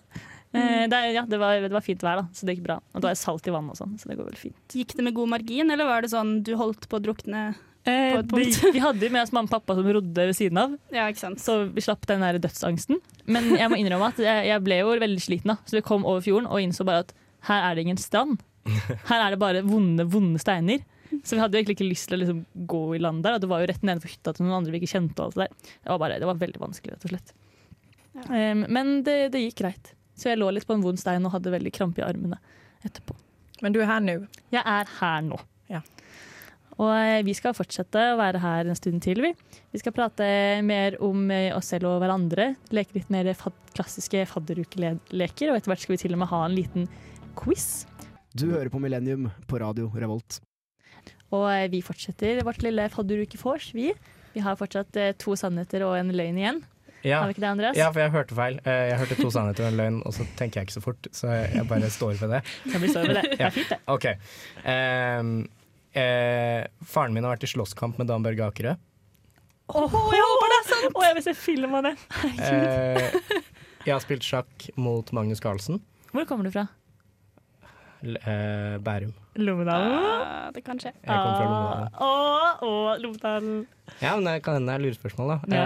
[SPEAKER 1] Eh, Det, er- ja, det, var, det var fint vær, da, så det gikk bra. Og da er salt i vannet og sånn, så det går vel fint.
[SPEAKER 2] Gikk det med god margin, eller var det sånn du holdt på å drukne?
[SPEAKER 1] Eh,
[SPEAKER 2] et
[SPEAKER 1] det,
[SPEAKER 2] punkt.
[SPEAKER 1] vi hadde jo med oss mamma og pappa som rodde ved siden av.
[SPEAKER 2] Ja, ikke sant.
[SPEAKER 1] Så vi slapp den der dødsangsten. Men jeg må innrømme at jeg, jeg ble jo veldig sliten, da. Så vi kom over fjorden og innså bare at her er det ingen strand. Her er det bare vonde, vonde steiner. Så vi hadde jo egentlig ikke lyst til å liksom gå i land der. Og det var jo rett nedenfor hytta til noen andre vi ikke kjente. og alt Det der. Det var, bare, det var veldig vanskelig, rett og slett.
[SPEAKER 2] Ja.
[SPEAKER 1] Em, men det, det gikk greit. Så jeg lå litt på en vond stein og hadde veldig krampe i armene etterpå.
[SPEAKER 3] Men du er her nå.
[SPEAKER 1] Jeg er her nå.
[SPEAKER 3] Ja.
[SPEAKER 1] Og eh, vi skal fortsette å være her en stund til. Vi Vi skal prate mer om eh, oss selv og hverandre. Leke litt mer fad klassiske fadderukeleker. Og etter hvert skal vi til og med ha en liten quiz.
[SPEAKER 9] Du hører på Millennium på Radio Revolt.
[SPEAKER 1] Og eh, vi fortsetter vårt lille fadderukefors, vi. Vi har fortsatt eh, to sannheter og en løgn igjen.
[SPEAKER 6] Ja.
[SPEAKER 1] Har vi ikke det, Andreas?
[SPEAKER 6] ja, for jeg hørte feil. Eh, Jeg hørte to sannheter og en løgn, og så tenker jeg ikke så fort, så jeg bare står ved det.
[SPEAKER 1] Kan vi stå med det? det er fint, det.
[SPEAKER 6] OK. Ehm, eh, faren min har vært i slåsskamp med Dan Børge Akerø.
[SPEAKER 1] Åh, jeg håper det er sant! Åh, jeg vil se film av det.
[SPEAKER 6] Eh, jeg har spilt sjakk mot Magnus Carlsen.
[SPEAKER 1] Hvor kommer du fra?
[SPEAKER 6] L- eh, Bærum.
[SPEAKER 1] Lommedalen.
[SPEAKER 2] Ah, det kan skje.
[SPEAKER 6] Jeg kommer fra
[SPEAKER 1] Ah.
[SPEAKER 6] Lommedalen.
[SPEAKER 1] Åh, åh, Lommedalen.
[SPEAKER 6] Ja, men det kan hende det er lurespørsmål, da.
[SPEAKER 1] Ja.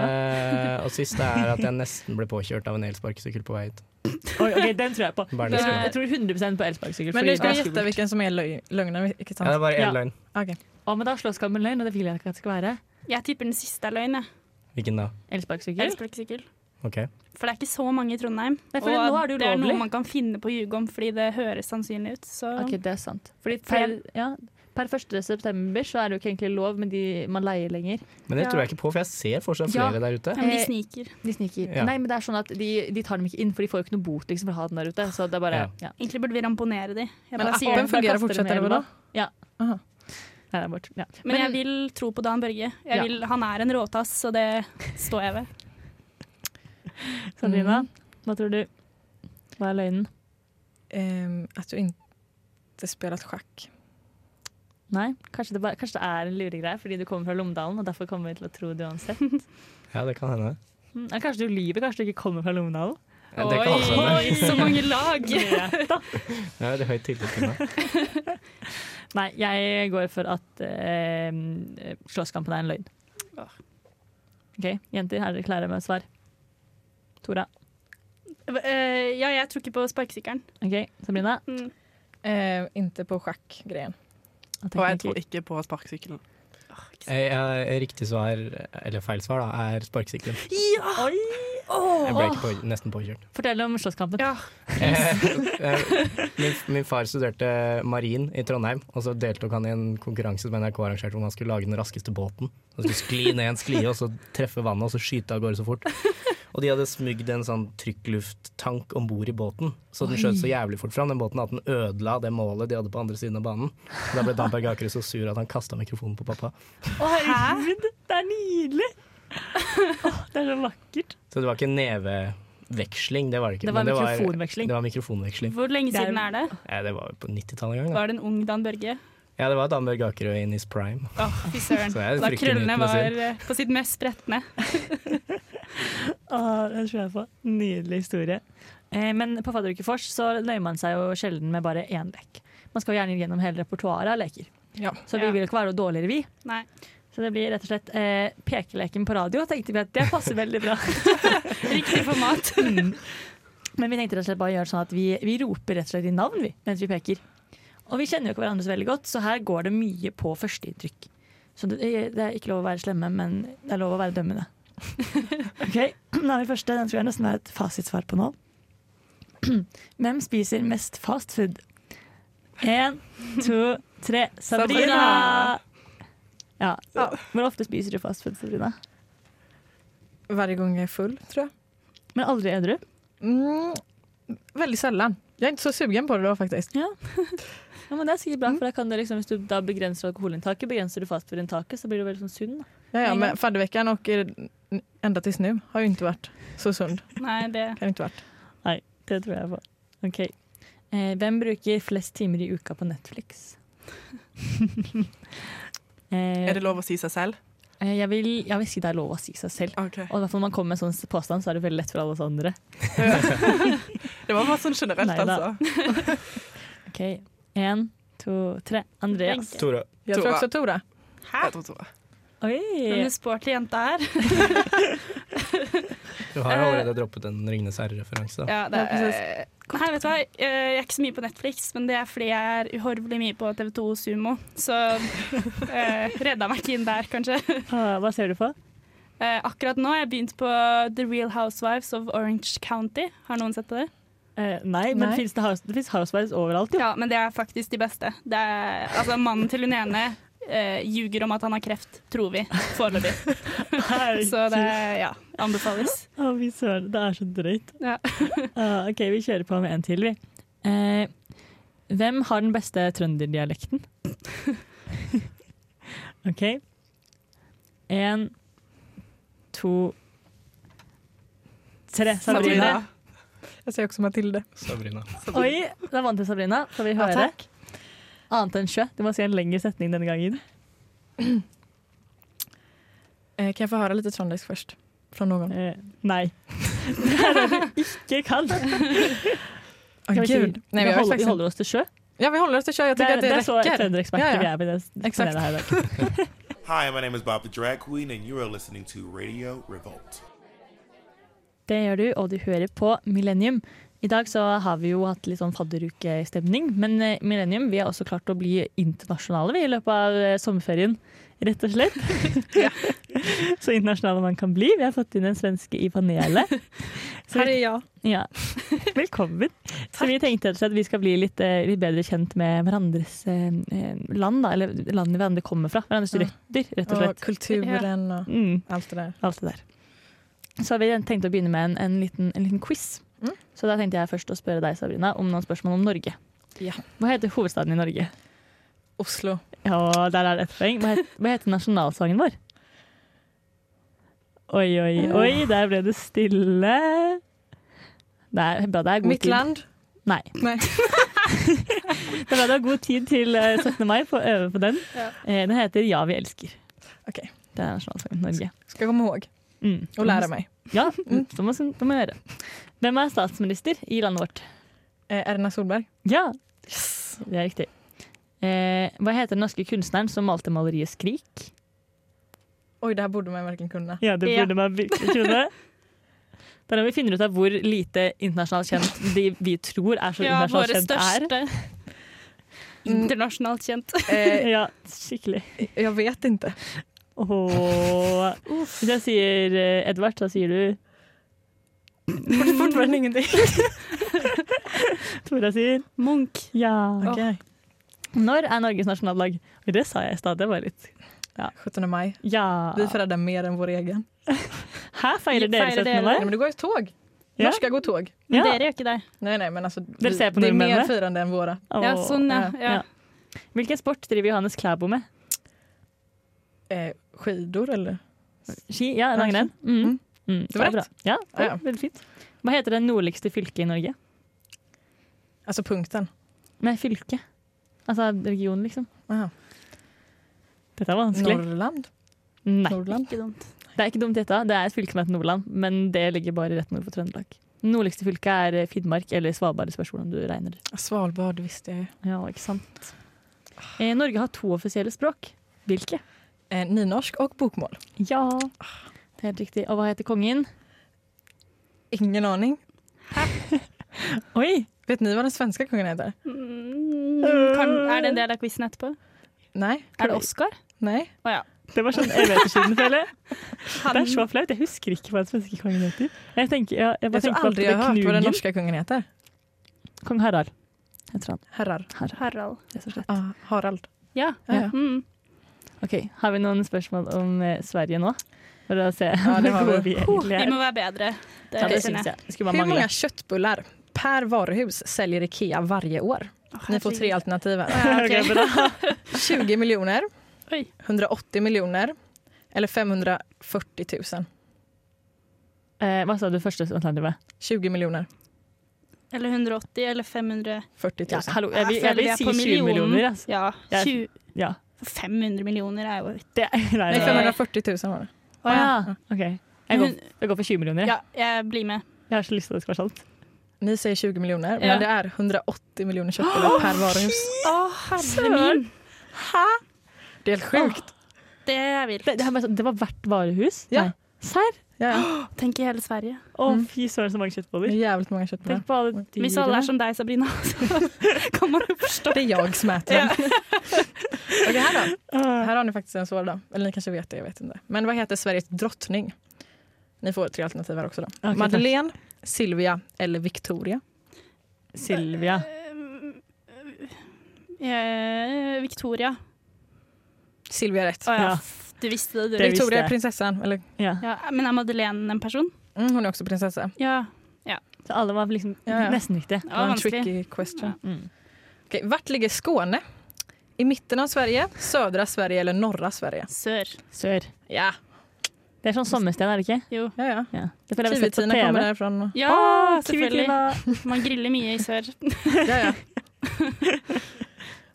[SPEAKER 6] Eh, og sist er at jeg nesten ble påkjørt av en elsparkesykkel på vei hit.
[SPEAKER 1] Oi, ok, Den tror jeg på.
[SPEAKER 6] Bare
[SPEAKER 1] Jeg
[SPEAKER 6] det
[SPEAKER 1] tror,
[SPEAKER 6] skal-
[SPEAKER 1] jeg tror 100 på elsparkesykkel.
[SPEAKER 3] Men
[SPEAKER 1] fordi
[SPEAKER 3] du
[SPEAKER 1] det
[SPEAKER 3] skal
[SPEAKER 1] er
[SPEAKER 3] gjette
[SPEAKER 1] skummelt.
[SPEAKER 3] hvilken som er løg- løgnen, ikke
[SPEAKER 6] Ja, det
[SPEAKER 3] sant?
[SPEAKER 6] er bare én
[SPEAKER 1] Ja.
[SPEAKER 6] løgn.
[SPEAKER 3] Ok.
[SPEAKER 1] Å, men da er slåsskampen løgn, og det vil jeg ikke at det skal være.
[SPEAKER 2] Jeg tipper den siste er løgn, jeg.
[SPEAKER 6] Hvilken da?
[SPEAKER 1] Elsparkesykkel?
[SPEAKER 2] Elsparkesykkel.
[SPEAKER 6] OK.
[SPEAKER 2] For det er ikke så mange i Trondheim.
[SPEAKER 1] Nei, fordi nå er det
[SPEAKER 2] det er
[SPEAKER 1] ulovlig.
[SPEAKER 2] noe man kan finne på å ljuge om fordi det høres sannsynlig ut. Så
[SPEAKER 1] Ok, det er sant. Fordi per, ja, per 1. september så er det jo ikke egentlig lov med de man leier lenger.
[SPEAKER 6] Men det
[SPEAKER 2] Ja.
[SPEAKER 6] tror jeg ikke på, for jeg ser fortsatt
[SPEAKER 1] Ja.
[SPEAKER 6] flere der ute.
[SPEAKER 2] ja, men de
[SPEAKER 1] Eh,
[SPEAKER 2] sniker.
[SPEAKER 1] De sniker.
[SPEAKER 6] Ja.
[SPEAKER 1] Nei, men det er sånn at de, de tar dem ikke inn, for de får jo ikke noe bot liksom, for å ha den der ute. Så det er bare ja.
[SPEAKER 2] Egentlig burde vi ramponere de. Jeg
[SPEAKER 3] Men
[SPEAKER 2] bare sier
[SPEAKER 3] appen
[SPEAKER 2] det.
[SPEAKER 1] for-
[SPEAKER 3] fungerer
[SPEAKER 1] kaster
[SPEAKER 3] fortsatt,
[SPEAKER 1] den i
[SPEAKER 3] eller hva da?
[SPEAKER 1] elva. Ja.
[SPEAKER 3] Aha.
[SPEAKER 1] Nei, det er bort. Ja.
[SPEAKER 2] Men jeg vil tro på Dan Børge.
[SPEAKER 1] Ja.
[SPEAKER 2] Jeg vil, han er en råtass, så det står jeg ved.
[SPEAKER 1] Sandrina, hva tror du? Hva er løgnen?
[SPEAKER 3] Ehm, At du ikke spelat sjakk.
[SPEAKER 1] Nei, kanskje det, bare, kanskje det er en luregreie fordi du kommer fra Lommedalen, og derfor kommer vi til å tro det uansett.
[SPEAKER 6] Ja, det kan hende.
[SPEAKER 1] Mm, eller kanskje du lyver, kanskje du ikke kommer fra Lommedalen.
[SPEAKER 6] Ja, det kan også hende.
[SPEAKER 2] oi, så mange lag!
[SPEAKER 6] Ja, det er høyt tillit til meg.
[SPEAKER 1] Nei, jeg går for at eh, slåsskampen er en løgn.
[SPEAKER 2] Åh.
[SPEAKER 1] OK, jenter, er dere klare med svar? Tora.
[SPEAKER 2] Eh, ja, jeg tror ikke på sparkesykkelen.
[SPEAKER 1] OK, Sabrina.
[SPEAKER 2] Mm.
[SPEAKER 3] Eh, Inte på Ehm, sjakkgreien.
[SPEAKER 1] Og
[SPEAKER 7] Og jeg tror ikke på sparkesykkelen.
[SPEAKER 6] Eh, eh, Riktig svar, eller feil svar, da, er sparkesykkelen.
[SPEAKER 1] Ja!
[SPEAKER 6] Jeg ble ikke på, nesten påkjørt.
[SPEAKER 1] Fortell om slåsskampen.
[SPEAKER 7] Ja.
[SPEAKER 6] Eh, min, min far studerte marin i Trondheim, og så deltok han i en konkurranse som NRK arrangerte hvor man skulle lage den raskeste båten. Man skulle skli ned en sklie og så treffe vannet og så skyte av gårde så fort. Og de hadde smugd en sånn trykklufttank om bord i båten, så den skjøt så jævlig fort fram den båten at den ødela det målet de hadde på andre siden av banen. Og da ble Dan Berg Akerø så sur at han kasta mikrofonen på pappa.
[SPEAKER 1] Å, herregud! Det er nydelig! Å, det er så vakkert.
[SPEAKER 6] Så det var ikke neveveksling, det var det ikke.
[SPEAKER 1] Det var
[SPEAKER 6] men
[SPEAKER 1] mikrofonveksling.
[SPEAKER 6] Det var mikrofonveksling.
[SPEAKER 2] Hvor lenge
[SPEAKER 1] Det er-
[SPEAKER 2] siden er det?
[SPEAKER 6] Eh, Det var jo på 90-tallet en gang. Da.
[SPEAKER 2] Var det en ung Dan Børge?
[SPEAKER 6] Ja, det var Dan Børge Akerø in his prime.
[SPEAKER 2] Å, fy søren.
[SPEAKER 6] Så jeg
[SPEAKER 2] Da
[SPEAKER 6] frykter
[SPEAKER 2] krøllene
[SPEAKER 6] myten å si.
[SPEAKER 2] var eh, på sitt mest spretne.
[SPEAKER 1] Å, Ah, det tror jeg på. Nydelig historie. Eh, men på Fadderukefors så nøyer man seg jo sjelden med bare én lek. Man skal jo gjerne gjennom hele repertoaret av leker.
[SPEAKER 3] Ja.
[SPEAKER 1] Så vi
[SPEAKER 2] Ja.
[SPEAKER 1] vil jo ikke være noe dårligere, vi.
[SPEAKER 2] Nei.
[SPEAKER 1] Så det blir rett og slett eh, pekeleken på radio, tenkte vi at det passer veldig bra.
[SPEAKER 2] Riktig format.
[SPEAKER 1] Mm. Men vi tenkte rett og slett bare å gjøre det sånn at vi, vi roper rett og slett i navn vi, mens vi peker. Og vi kjenner jo ikke hverandre så veldig godt, så her går det mye på førsteinntrykk. Så det, det er ikke lov å være slemme, men det er lov å være dømmende. Ok, Da er vi første. Den tror jeg nesten er et fasitsvar på nå. Hvem spiser mest fast food? Én, to, tre. Sabrina!
[SPEAKER 2] Sabrina!
[SPEAKER 1] Ja. Hvor ofte spiser du fast food, Sabrina?
[SPEAKER 3] Varje gång jag är full, tror jag.
[SPEAKER 1] Men aldri edru?
[SPEAKER 3] Mm, väldigt sällan. Jag är inte så sugen på det då faktiskt.
[SPEAKER 1] Ja, men det er sikkert bra, for da kan det liksom, Hvis du da begrenser alkoholinntaket, begrenser du fastfoodinntaket, så blir du veldig sånn sunn. da.
[SPEAKER 3] Ja, ja,
[SPEAKER 1] En
[SPEAKER 3] men
[SPEAKER 1] gång.
[SPEAKER 3] fadderveckan och eh, ända tills nu har ju inte varit så sund.
[SPEAKER 2] Nei, det
[SPEAKER 3] Kan inte varit.
[SPEAKER 1] Det tror jeg på. Ok. Eh, hvem bruker flest timer i uka på Netflix? eh,
[SPEAKER 7] Er det lov å si seg selv?
[SPEAKER 1] eh, jeg, vil, jeg vil si det er lov å si seg selv.
[SPEAKER 7] Ok.
[SPEAKER 1] Og i hvert fall når man kommer med en sånn påstand, så er det veldig lett for alle oss andre.
[SPEAKER 7] Det var bare sånn generelt,
[SPEAKER 1] Neida.
[SPEAKER 7] altså.
[SPEAKER 1] Ok, En, to, tre. Andreas.
[SPEAKER 2] Wenche.
[SPEAKER 6] Tore.
[SPEAKER 3] Jag tror
[SPEAKER 7] Tora.
[SPEAKER 3] också Tora.
[SPEAKER 7] Jeg tror Tora.
[SPEAKER 1] Oi!
[SPEAKER 2] Denne sporty jenta her.
[SPEAKER 6] Du har allerede droppet en Ringnes herre-referanse. da.
[SPEAKER 2] Ja, det er, Nei, vet du hva? Eh, Jeg er ikke så mye på Netflix, men det er fordi jeg er uhorvelig mye på TV2 Sumo. Så eh, redda meg ikke inn der, kanskje.
[SPEAKER 1] Ah, hva ser du på?
[SPEAKER 2] Eh, akkurat nå har jeg begynt på The Real Housewives of Orange County. Har noen sett på det?
[SPEAKER 1] Eh, nei, men
[SPEAKER 3] Nei.
[SPEAKER 1] finnes det, house, det finnes Housewives overalt, jo.
[SPEAKER 2] Ja, men det er faktisk de beste. Det er, altså, mannen til hun ene eh, ljuger om at han har kreft, tror vi, foreløpig. Så det ja, anbefales.
[SPEAKER 1] Å, fy søren. Det er så drøyt.
[SPEAKER 2] Ja.
[SPEAKER 1] Ah, ok, vi kjører på med en til, vi. Eh, hvem har den beste trønderdialekten? ok. En, to, tre. Sabrina.
[SPEAKER 7] Sabrina.
[SPEAKER 3] Jag säger också Matilde.
[SPEAKER 6] Sabrina.
[SPEAKER 1] Oi, da vant du, Sabrina. Får vi
[SPEAKER 3] Ja,
[SPEAKER 1] høre?
[SPEAKER 3] takk.
[SPEAKER 1] Annet enn sjø. Du må si en lengre setning denne gangen.
[SPEAKER 3] Eh, kan jag få höra lite trondheimsk först? Från någon?
[SPEAKER 1] Eh, nei. Det er det du ikke kan.
[SPEAKER 3] Åh,
[SPEAKER 1] Kan vi si-
[SPEAKER 3] gud. Nej,
[SPEAKER 1] vi,
[SPEAKER 3] vi,
[SPEAKER 1] holder,
[SPEAKER 3] vi,
[SPEAKER 1] vi holder oss til sjø.
[SPEAKER 3] ja, vi håller oss till kör. Jag
[SPEAKER 1] Det
[SPEAKER 3] tycker
[SPEAKER 1] er,
[SPEAKER 3] att
[SPEAKER 1] det er
[SPEAKER 3] det,
[SPEAKER 1] så
[SPEAKER 3] räcker.
[SPEAKER 1] trøndereksperter
[SPEAKER 3] Ja, ja.
[SPEAKER 1] vi er. Med det, med
[SPEAKER 3] Exakt.
[SPEAKER 1] det her i dag.
[SPEAKER 10] Hi, my name is Bob the Drag Queen, and you are listening to Radio Revolt.
[SPEAKER 1] Det gjør du, og du hører på Millennium. I dag så har vi jo hatt litt sånn fadderukestemning, men eh, Millennium vi har også klart å bli internasjonale vi i løpet av eh, sommerferien, rett og slett. så internasjonale man kan bli. Vi har fått inn en svenske i panelet. Så
[SPEAKER 3] Här
[SPEAKER 1] vi,
[SPEAKER 3] är jag.
[SPEAKER 1] ja. Velkommen. Så vi tenkte rett og slett at vi skal bli litt, eh, litt bedre kjent med hverandres eh, eh, land, da, eller landene hverandre kommer fra. Hverandres
[SPEAKER 3] Ja.
[SPEAKER 1] røtter, rett og
[SPEAKER 3] Och
[SPEAKER 1] slett.
[SPEAKER 3] kulturen och
[SPEAKER 1] Mm
[SPEAKER 3] allt det där.
[SPEAKER 1] alt det der. Så vi tenkte å begynne med en, en, liten, en liten quiz.
[SPEAKER 3] Mm.
[SPEAKER 1] Så da tenkte jeg først å spørre deg, Sabrina, om noen spørsmål om Norge.
[SPEAKER 3] Ja.
[SPEAKER 1] Hva heter hovedstaden i Norge?
[SPEAKER 3] Oslo.
[SPEAKER 1] Ja, der er det ett poeng. Hva, het, hva heter nasjonalsangen vår? Oi, oi, oi, der ble det stille. Det er bra det er god
[SPEAKER 3] Mitt
[SPEAKER 1] tid.
[SPEAKER 3] land.
[SPEAKER 1] Nei.
[SPEAKER 3] Nej.
[SPEAKER 1] Det er bra du har god tid til eh, 17. mai på å øve på den.
[SPEAKER 2] Ja.
[SPEAKER 1] Eh, Den heter Ja, vi elsker.
[SPEAKER 3] Ok.
[SPEAKER 1] Det er nasjonalsangen i Norge.
[SPEAKER 3] Ska jag komma ihåg
[SPEAKER 1] Mm.
[SPEAKER 3] och lära mig.
[SPEAKER 1] Ja, det må, sånn, det må jeg gjøre. Hvem er statsminister i landet vårt?
[SPEAKER 3] Eh, Erna Solberg.
[SPEAKER 1] Ja, det er riktig. Eh, hva heter den norske kunstneren som malte maleriet 'Skrik'?
[SPEAKER 3] Oj, det här borde man verkligen kunna.
[SPEAKER 1] Ja, det
[SPEAKER 2] burde
[SPEAKER 1] man virkelig kunne. Det er da vi finner ut av hvor lite internasjonalt kjent de vi tror er Mm. så
[SPEAKER 2] Ja,
[SPEAKER 1] internasjonalt
[SPEAKER 2] våre
[SPEAKER 1] kjent er.
[SPEAKER 2] største. Internasjonalt kjent.
[SPEAKER 3] Eh,
[SPEAKER 1] Ja, skikkelig.
[SPEAKER 3] jag vet inte.
[SPEAKER 1] Åh. Hvis jeg sier eh, Edvard, så sier du
[SPEAKER 3] Fort- Fortfarande ingenting.
[SPEAKER 1] Tora sier
[SPEAKER 2] Munch.
[SPEAKER 1] ja.
[SPEAKER 3] Okej.
[SPEAKER 1] Når er Norges nasjonaldag? Oi, Det sa jeg i stad. Det var litt
[SPEAKER 3] 17 maj.
[SPEAKER 1] Ja.
[SPEAKER 3] Vi firar den mer än vår egen.
[SPEAKER 1] Her feirer dere 17.
[SPEAKER 2] Feirer dere-
[SPEAKER 3] Nej, men
[SPEAKER 1] mai.
[SPEAKER 3] det går ju tåg.
[SPEAKER 1] Ja.
[SPEAKER 3] Norska går tåg.
[SPEAKER 2] Men
[SPEAKER 1] Ja.
[SPEAKER 2] Dere gjør ikke det.
[SPEAKER 3] Nej, nej, men alltså,
[SPEAKER 1] Vill du säga på
[SPEAKER 3] det är
[SPEAKER 1] numren,
[SPEAKER 3] mer
[SPEAKER 1] eller?
[SPEAKER 3] firande än våra.
[SPEAKER 2] Ja,
[SPEAKER 1] Åh.
[SPEAKER 2] sånn, ja. ja.
[SPEAKER 1] Ja. Hvilken sport driver Johannes Klæbo med?
[SPEAKER 3] Eh, skidor eller?
[SPEAKER 1] Ski? Ja, langrenn? Mm.
[SPEAKER 3] Mm.
[SPEAKER 1] Mm.
[SPEAKER 3] Det var
[SPEAKER 1] bra.
[SPEAKER 3] rett.
[SPEAKER 1] Ja, det
[SPEAKER 3] Ja.
[SPEAKER 1] var veldig fint. Hva heter det nordligste fylket i Norge?
[SPEAKER 3] Alltså punkten.
[SPEAKER 1] Nei, fylke. Altså region, liksom.
[SPEAKER 3] Aha.
[SPEAKER 1] Dette er vanskelig.
[SPEAKER 3] Norrland.
[SPEAKER 1] Nei,
[SPEAKER 3] Nordland.
[SPEAKER 2] Ikke dumt.
[SPEAKER 1] det er ikke dumt gjetta. Det er et fylke som heter Nordland, men det ligger bare rett nord for Trøndelag. Nordligste fylket er eh, Finnmark eller Svalbard, spørs hvordan du regner det.
[SPEAKER 3] Svalbard visste jag ju.
[SPEAKER 1] Ja, ikke sant. Eh, Norge har to offisielle språk. Hvilke?
[SPEAKER 3] Eh, nynorsk och bokmål.
[SPEAKER 1] Ja. Det er helt riktig. Og hva heter kongen?
[SPEAKER 3] Ingen aning.
[SPEAKER 1] Oi!
[SPEAKER 3] Vet ni vad den svenska kungen heter?
[SPEAKER 2] Mm, kan, er det en del av quizen etterpå?
[SPEAKER 3] Nej.
[SPEAKER 2] Er det Oscar?
[SPEAKER 3] Nej.
[SPEAKER 2] Å ja.
[SPEAKER 1] Det var sånn evighetssiden, føler jeg. Det er så flaut. Jeg husker ikke hva den svenske kongen heter. Jeg, tenker, jeg, jeg
[SPEAKER 3] Jag
[SPEAKER 1] bare
[SPEAKER 3] tror
[SPEAKER 1] tenker på alt
[SPEAKER 3] aldrig jag
[SPEAKER 1] det
[SPEAKER 3] har hört vad den
[SPEAKER 1] knugen.
[SPEAKER 3] norska kungen heter.
[SPEAKER 1] Kong Harald heter han.
[SPEAKER 3] Herrar.
[SPEAKER 2] Harald.
[SPEAKER 1] rett og slett.
[SPEAKER 3] Ah, Harald.
[SPEAKER 2] Ja.
[SPEAKER 3] Ja, ja.
[SPEAKER 2] Mm.
[SPEAKER 1] Ok, Har vi noen spørsmål om eh, Sverige nå? For å se
[SPEAKER 3] Ja, det har
[SPEAKER 1] hvor
[SPEAKER 3] vi.
[SPEAKER 1] vi egentlig
[SPEAKER 2] Vi
[SPEAKER 1] er.
[SPEAKER 2] må være bedre. Det,
[SPEAKER 1] Ja, det
[SPEAKER 2] skjønner
[SPEAKER 1] syns
[SPEAKER 2] jeg.
[SPEAKER 1] jeg. Det Skulle
[SPEAKER 3] Hur
[SPEAKER 1] bare mangle.
[SPEAKER 3] många köttbullar per varuhus säljer Ikea varje år?
[SPEAKER 2] Å,
[SPEAKER 3] Ni får tre
[SPEAKER 2] herregud.
[SPEAKER 3] alternativ här.
[SPEAKER 2] Ja, ok.
[SPEAKER 3] 20 miljoner,
[SPEAKER 2] Oi.
[SPEAKER 3] 180 miljoner eller 540 000.
[SPEAKER 1] Eh, hva sa du første alternativet?
[SPEAKER 3] 20 miljoner,
[SPEAKER 2] Eller 180 eller 500
[SPEAKER 3] 40 000.
[SPEAKER 1] Ja, hallo, jeg vil, Eh, jeg
[SPEAKER 2] føler
[SPEAKER 1] vil
[SPEAKER 2] vi er
[SPEAKER 1] si
[SPEAKER 2] på
[SPEAKER 1] 20 millioner. Altså.
[SPEAKER 2] Ja.
[SPEAKER 1] Jeg-
[SPEAKER 2] 20,
[SPEAKER 1] Ja.
[SPEAKER 2] 500 millioner er jo
[SPEAKER 1] Det, nei, nei,
[SPEAKER 3] Nej,
[SPEAKER 1] nei.
[SPEAKER 3] 540 000 var det.
[SPEAKER 1] Å,
[SPEAKER 2] ja.
[SPEAKER 1] ja. Ok. Jeg går, jeg går for 20 millioner.
[SPEAKER 2] ja,
[SPEAKER 1] Jeg.
[SPEAKER 2] jeg blir med.
[SPEAKER 1] jeg har så lyst til at det skal være sånn. sant.
[SPEAKER 3] Ni säger 20 miljoner,
[SPEAKER 2] Ja.
[SPEAKER 3] men det är 180 miljoner köttbullar per varuhus.
[SPEAKER 2] Å, herre min!
[SPEAKER 3] Det är helt sjukt.
[SPEAKER 2] Det er vilt.
[SPEAKER 1] Det, det, er bare sånn- det var hvert varehus?
[SPEAKER 3] Ja.
[SPEAKER 1] Nei. Serr?
[SPEAKER 3] Ja,
[SPEAKER 2] Tenk i hele Sverige.
[SPEAKER 1] Å,
[SPEAKER 3] Mm.
[SPEAKER 1] fy søren, så mange
[SPEAKER 3] det är
[SPEAKER 1] kjøttboller.
[SPEAKER 3] jävligt många köttbullar.
[SPEAKER 1] Tenk på alle dyrene.
[SPEAKER 2] Hvis alle er som deg, Sabrina, så kan man jo forstå.
[SPEAKER 3] Det är jag som äter den. Okej, här då. Här har ni faktiskt en svår då. Eller ni kanske vet det, jag vet inte. Men vad heter Sveriges drottning? Ni får tre alternativ här också då.
[SPEAKER 1] tack.
[SPEAKER 3] Madeleine, Silvia eller Victoria?
[SPEAKER 1] Silvia.
[SPEAKER 2] Eh, Victoria.
[SPEAKER 3] Silvia är rätt.
[SPEAKER 2] Å ja,
[SPEAKER 1] Ja.
[SPEAKER 2] f- du visste det, du.
[SPEAKER 1] Det- visste
[SPEAKER 3] Victoria
[SPEAKER 1] jag.
[SPEAKER 3] är prinsessan, eller
[SPEAKER 1] Ja.
[SPEAKER 2] Ja, men er Madeleine en person?
[SPEAKER 3] mm, hon är också prinsessa.
[SPEAKER 2] Ja.
[SPEAKER 1] Så alle var liksom
[SPEAKER 3] Ja, ja.
[SPEAKER 1] nesten riktige.
[SPEAKER 2] Det
[SPEAKER 3] Det var
[SPEAKER 2] var
[SPEAKER 3] en
[SPEAKER 2] vanskelig.
[SPEAKER 3] tricky question.
[SPEAKER 1] Mm.
[SPEAKER 3] Okej, vart ligger Skåne? I mitten av Sverige, södra Sverige eller norra Sverige?
[SPEAKER 2] Sør.
[SPEAKER 1] Sør.
[SPEAKER 3] Ja,
[SPEAKER 1] Det er sånn sommersted, er det ikke?
[SPEAKER 2] Jo.
[SPEAKER 3] ja, ja.
[SPEAKER 1] Ja. Det føler jeg vi har sett på
[SPEAKER 3] Kiwitina
[SPEAKER 1] TV.
[SPEAKER 3] kommer därifrån.
[SPEAKER 2] Ja,
[SPEAKER 1] Åh,
[SPEAKER 2] selvfølgelig.
[SPEAKER 1] Kiwi-Tina.
[SPEAKER 2] Man griller mye i sør.
[SPEAKER 3] Ja, ja.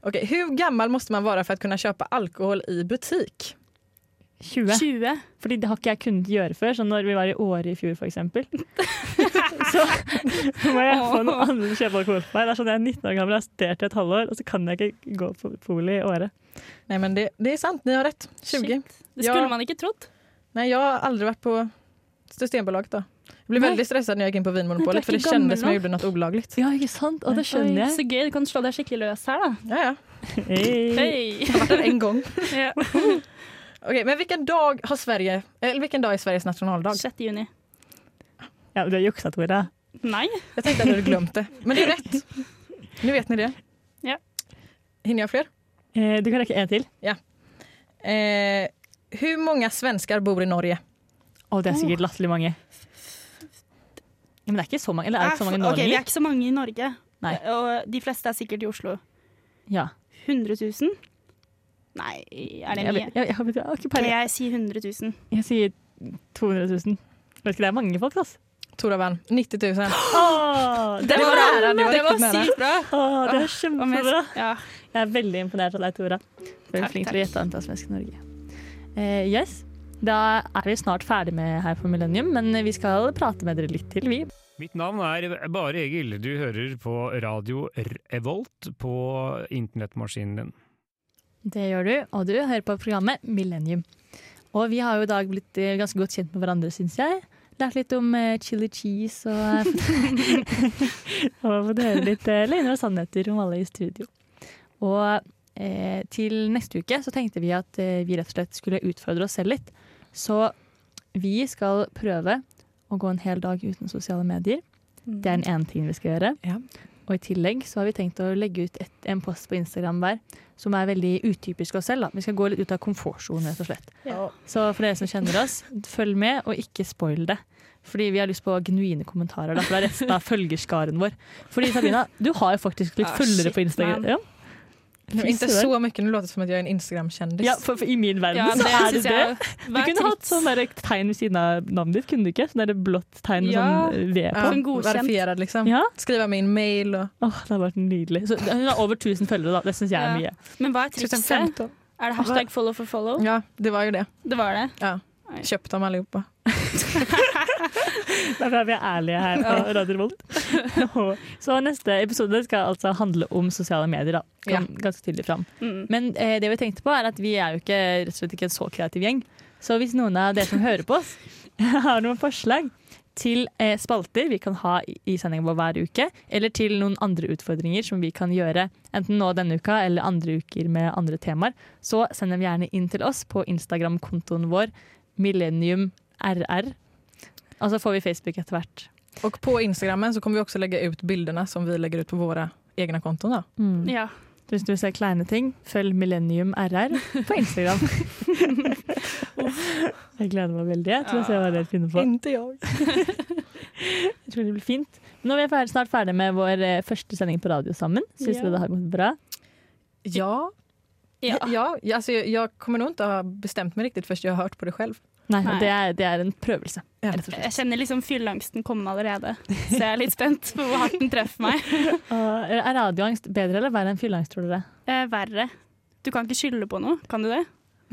[SPEAKER 3] Okej, hur gammal måste man vara för att kunna köpa alkohol i butik?
[SPEAKER 1] 20.
[SPEAKER 2] 20.
[SPEAKER 1] Fordi det har ikke jeg kunnet gjøre før. Så når vi var i Åre i fjor, for eksempel, så må jeg få noen andre til å kjøpe alkohol for meg. Det er sånn Jeg er 19 år gammel, jeg har studert i et halvår, og så kan jeg ikke gå på polet i Åre.
[SPEAKER 3] Nej, men det, det är sant, ni har rätt. 20.
[SPEAKER 2] Shit. Det skulle
[SPEAKER 3] Ja.
[SPEAKER 2] man ikke trodd.
[SPEAKER 3] Nej, jag har aldrig varit på Systembolaget då. Jag blev väldigt stressad när jag gick in på
[SPEAKER 2] Men du är
[SPEAKER 3] Vinmonopolet för det
[SPEAKER 2] inte gammal
[SPEAKER 3] kändes som
[SPEAKER 2] nog.
[SPEAKER 3] jag gjorde något olagligt.
[SPEAKER 1] Ja, ikke sant? Og det skjønner
[SPEAKER 2] Oi,
[SPEAKER 1] jeg.
[SPEAKER 2] Så gøy. Du kan slå deg skikkelig løs her, da.
[SPEAKER 3] Ja, ja.
[SPEAKER 1] Hey.
[SPEAKER 2] Hei!
[SPEAKER 3] Jag har varit där en gång.
[SPEAKER 2] Ja.
[SPEAKER 3] Okej, men vilken dag har Sverige, eller vilken dag är Sveriges nationaldag?
[SPEAKER 2] 6. juni.
[SPEAKER 1] Ja, du har juksa, Tora.
[SPEAKER 2] Nei.
[SPEAKER 3] Jag tänkte att du hade glömt det, men det är rätt. Nu vet ni det.
[SPEAKER 2] Ja.
[SPEAKER 3] Hinner jag fler?
[SPEAKER 1] Eh, du kan rekke en til.
[SPEAKER 3] Eh, hur många svenskar bor i Norge?
[SPEAKER 1] Å, det er sikkert latterlig mange. Ja, Men det er ikke så mange. Eller er det ikke så mange nå
[SPEAKER 2] Ah, Ok, vi er
[SPEAKER 1] lenger?
[SPEAKER 2] ikke så mange i Norge.
[SPEAKER 1] Nei.
[SPEAKER 2] Og de fleste er sikkert i Oslo.
[SPEAKER 1] Ja.
[SPEAKER 2] 100 000? Nei, er det
[SPEAKER 1] Jeg,
[SPEAKER 2] mye?
[SPEAKER 1] vet- jeg, jeg, har- jeg har ikke
[SPEAKER 2] Kan
[SPEAKER 1] peiling.
[SPEAKER 2] jeg si 100 000?
[SPEAKER 1] Jeg sier 200 000. Vet ikke, det er mange folk, altså.
[SPEAKER 3] Tora vann, 90 000.
[SPEAKER 1] Åh, det,
[SPEAKER 3] var nära, det var
[SPEAKER 2] det var
[SPEAKER 3] riktigt nära.
[SPEAKER 2] sykt bra!
[SPEAKER 1] åh, det er
[SPEAKER 2] Om jeg-
[SPEAKER 1] kjempebra.
[SPEAKER 2] Ja.
[SPEAKER 1] Jeg er veldig imponert av deg, Tora. Du er
[SPEAKER 2] Takk,
[SPEAKER 1] flink til å
[SPEAKER 2] takk.
[SPEAKER 1] gjette antall svensker i Norge. Eh, yes, da er vi snart ferdig med her på Millennium, men vi skal prate med dere litt til, vi.
[SPEAKER 11] Mitt navn er Bare Egil. Du hører på radio Revolt på internettmaskinen din.
[SPEAKER 1] Det gjør du, og du hører på programmet Millennium. Og vi har jo i dag blitt eh, ganske godt kjent med hverandre, syns jeg. Lært litt om eh, chili cheese og eh, Og fått høre litt eh, løgner og sannheter om alle i studio. Og eh, til neste uke så tenkte vi at eh, vi rett og slett skulle utfordre oss selv litt. Så vi skal prøve å gå en hel dag uten sosiale medier. Det er den ene tingen vi skal gjøre. Og i tillegg så har vi tenkt å legge ut et, en post på Instagram hver som er veldig utypisk oss selv. Da. Vi skal gå litt ut av komfortsonen, rett og slett.
[SPEAKER 2] Ja.
[SPEAKER 1] Så for dere som kjenner oss, følg med, og ikke spoil det. Fordi vi har lyst på genuine kommentarer da, fra resten av følgerskaren vår. Fordi Sabina, du har jo faktisk litt
[SPEAKER 3] Ah,
[SPEAKER 1] følgere
[SPEAKER 3] shit,
[SPEAKER 1] på Instagram.
[SPEAKER 3] man.
[SPEAKER 1] Ja.
[SPEAKER 3] Det var Inte så mycket, nu låter det som att jag är en Instagram-kändis.
[SPEAKER 1] Ja, for, for I min verden
[SPEAKER 3] Ja,
[SPEAKER 1] så
[SPEAKER 3] det
[SPEAKER 1] er det
[SPEAKER 3] synes
[SPEAKER 1] det.
[SPEAKER 3] jeg
[SPEAKER 1] Du
[SPEAKER 3] var
[SPEAKER 1] kunne hatt sånn der tegn ved siden av navnet ditt, kunne du ikke? Sånn der blått tegn med sånn eh, V på.
[SPEAKER 3] verifierad liksom. Skriva med en mail och...
[SPEAKER 1] Åh, det har vært nydelig. Så hun har over 1000 følgere, da. Det syns jeg er mye.
[SPEAKER 2] Men hva er trikset?
[SPEAKER 3] 2015.
[SPEAKER 2] Er det hashtag follow for follow?
[SPEAKER 3] Ja, det var ju det.
[SPEAKER 2] Det var det.
[SPEAKER 3] Ja. Köpt dem allihopa.
[SPEAKER 1] Det er bra vi er ærlige her på Radio Revolt. Og Så neste episode skal altså handle om sosiale medier. da. Kom ganske tydelig fram.
[SPEAKER 2] Mm.
[SPEAKER 1] Men eh, det vi tenkte på er at vi er jo ikke, rett og slett ikke en så kreativ gjeng. Så hvis noen av dere som hører på oss har noen forslag til eh, spalter vi kan ha i- i sendingen vår hver uke, eller til noen andre utfordringer som vi kan gjøre enten nå denne uka eller andre uker med andre temaer, så send dem gjerne inn til oss på Instagram-kontoen vår millenniumrr. Og så får vi Facebook etter hvert.
[SPEAKER 3] Och på Instagrammen så kommer vi också lägga ut bilderna som vi lägger ut på våra egna konton. Då.
[SPEAKER 2] Ja.
[SPEAKER 1] Hvis du vil se kleine ting, følg Millennium RR på Instagram. jeg gleder meg veldig til å se hva dere finner på.
[SPEAKER 3] Inte jag.
[SPEAKER 1] Jeg tror det blir fint. Nå er vi ferdig, snart ferdig med vår eh, første sending på radio sammen. Syns
[SPEAKER 3] Ja.
[SPEAKER 1] vi det har gått bra?
[SPEAKER 3] Ja. Ja. ja alltså, jag, jag kommer nog inte ha bestämt mig riktigt förrän jag har hört på det själv.
[SPEAKER 1] Nei,
[SPEAKER 2] Nei.
[SPEAKER 1] Det, er, det er en prøvelse. rett og slett.
[SPEAKER 2] Jeg kjenner liksom fylleangsten komme allerede, så jeg er litt spent på hvor hardt den treffer meg.
[SPEAKER 1] Og er radioangst bedre eller verre enn fylleangst, tror dere?
[SPEAKER 2] Eh, verre. Du kan ikke skylde på noe, kan du det?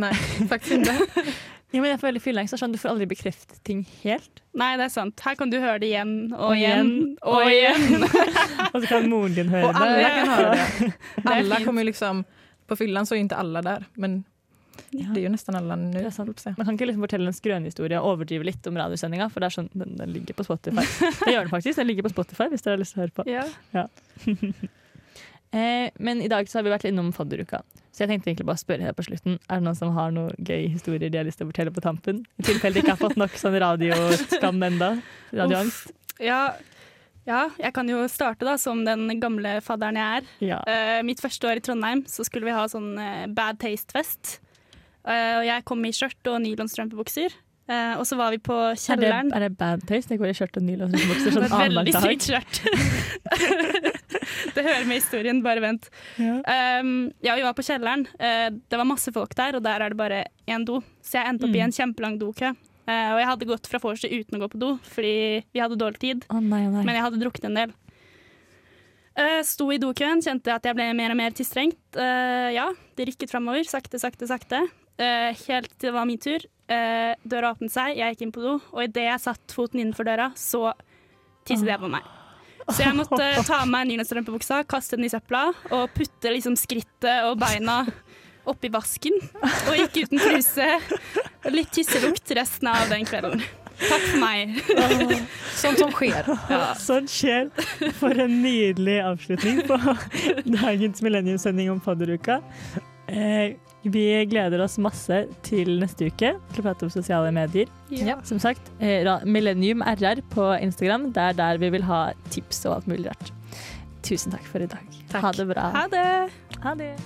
[SPEAKER 3] Nei, faktisk ikke.
[SPEAKER 1] Ja, men jeg føler fylleangst er sånn, Du får aldri bekreftet ting helt.
[SPEAKER 2] Nei, det er sant. Her kan du høre det igjen og,
[SPEAKER 1] Og
[SPEAKER 2] igjen og igjen.
[SPEAKER 1] og så kan moren din høre
[SPEAKER 3] Och alla
[SPEAKER 1] det.
[SPEAKER 3] kan höra det. Alla kommer ju liksom, på fyllan så är inte alla där, men det är ju nästan alla nu.
[SPEAKER 1] Man kan ikke liksom fortelle en skrønehistorie og overdrive litt om radiosendinga, for det er sånn, den, den ligger på Spotify. Det gjør den faktisk. Den ligger på Spotify hvis dere har lyst til å høre på.
[SPEAKER 2] Ja.
[SPEAKER 1] eh, men i dag så har vi vært innom fadderuka, så jeg tenkte egentlig bare å spørre her på slutten. Er det noen som har noen gøye historier de har lyst til å fortelle på tampen? I tilfelle de ikke har fått nok sånn radioskam enda. Radioangst.
[SPEAKER 2] Ja. ja, jeg kan jo starte da, som den gamle fadderen jeg er.
[SPEAKER 1] Ja.
[SPEAKER 2] Eh, mitt første år i Trondheim så skulle vi ha sånn eh, bad taste-fest. Eh, og jeg kom i skjørt og nylonstrømpebukser. Eh, og så var vi på
[SPEAKER 1] Er det,
[SPEAKER 2] kjelleren.
[SPEAKER 1] er det bad taste? Det går i skjørt og nylonsbukser sånn
[SPEAKER 2] Det var
[SPEAKER 1] annenhver
[SPEAKER 2] et Veldig
[SPEAKER 1] dag.
[SPEAKER 2] sykt skjørt. det hører med historien, bare vent.
[SPEAKER 1] Ja.
[SPEAKER 2] Um, ja, vi var på kjelleren. Eh, det var masse folk der, og der er det bare én do. Så jeg endte
[SPEAKER 1] Mm.
[SPEAKER 2] opp i en kjempelang dokø. Eh, og jeg hadde gått fra vorset uten å gå på do, fordi vi hadde dårlig tid.
[SPEAKER 1] Å nei, å nei.
[SPEAKER 2] Men jeg hadde drukket en del. Eh, sto i dokøen, kjente at jeg ble mer og mer tilstrengt. Eh, ja, det rikket framover, sakte, sakte, sakte. Eh, helt til det var min tur. Eh, døra åpnet seg, jeg gikk inn på do, og idet jeg satt foten innenfor døra, så tisset jeg på meg. Så jeg måtte ta av meg nylonstrømpebuksa, kaste den i søpla og putte liksom skrittet og beina oppi vasken. Og gikk uten truse. Og Litt tisselukt resten av den kvelden. Takk for meg.
[SPEAKER 3] Sånt Sånn som skjer.
[SPEAKER 2] Ja.
[SPEAKER 1] Sånn skjer. For en nydelig avslutning på dagens millenniumssending om fadderuka. Eh, vi gleder oss masse til neste uke til å prate om sosiale medier.
[SPEAKER 3] Ja.
[SPEAKER 1] Som sagt, eh, ra- Millennium RR på Instagram. Det er der vi vil ha tips og alt mulig rart. Tusen takk for i dag. Ha det bra.
[SPEAKER 2] Ha det.
[SPEAKER 1] Ha det.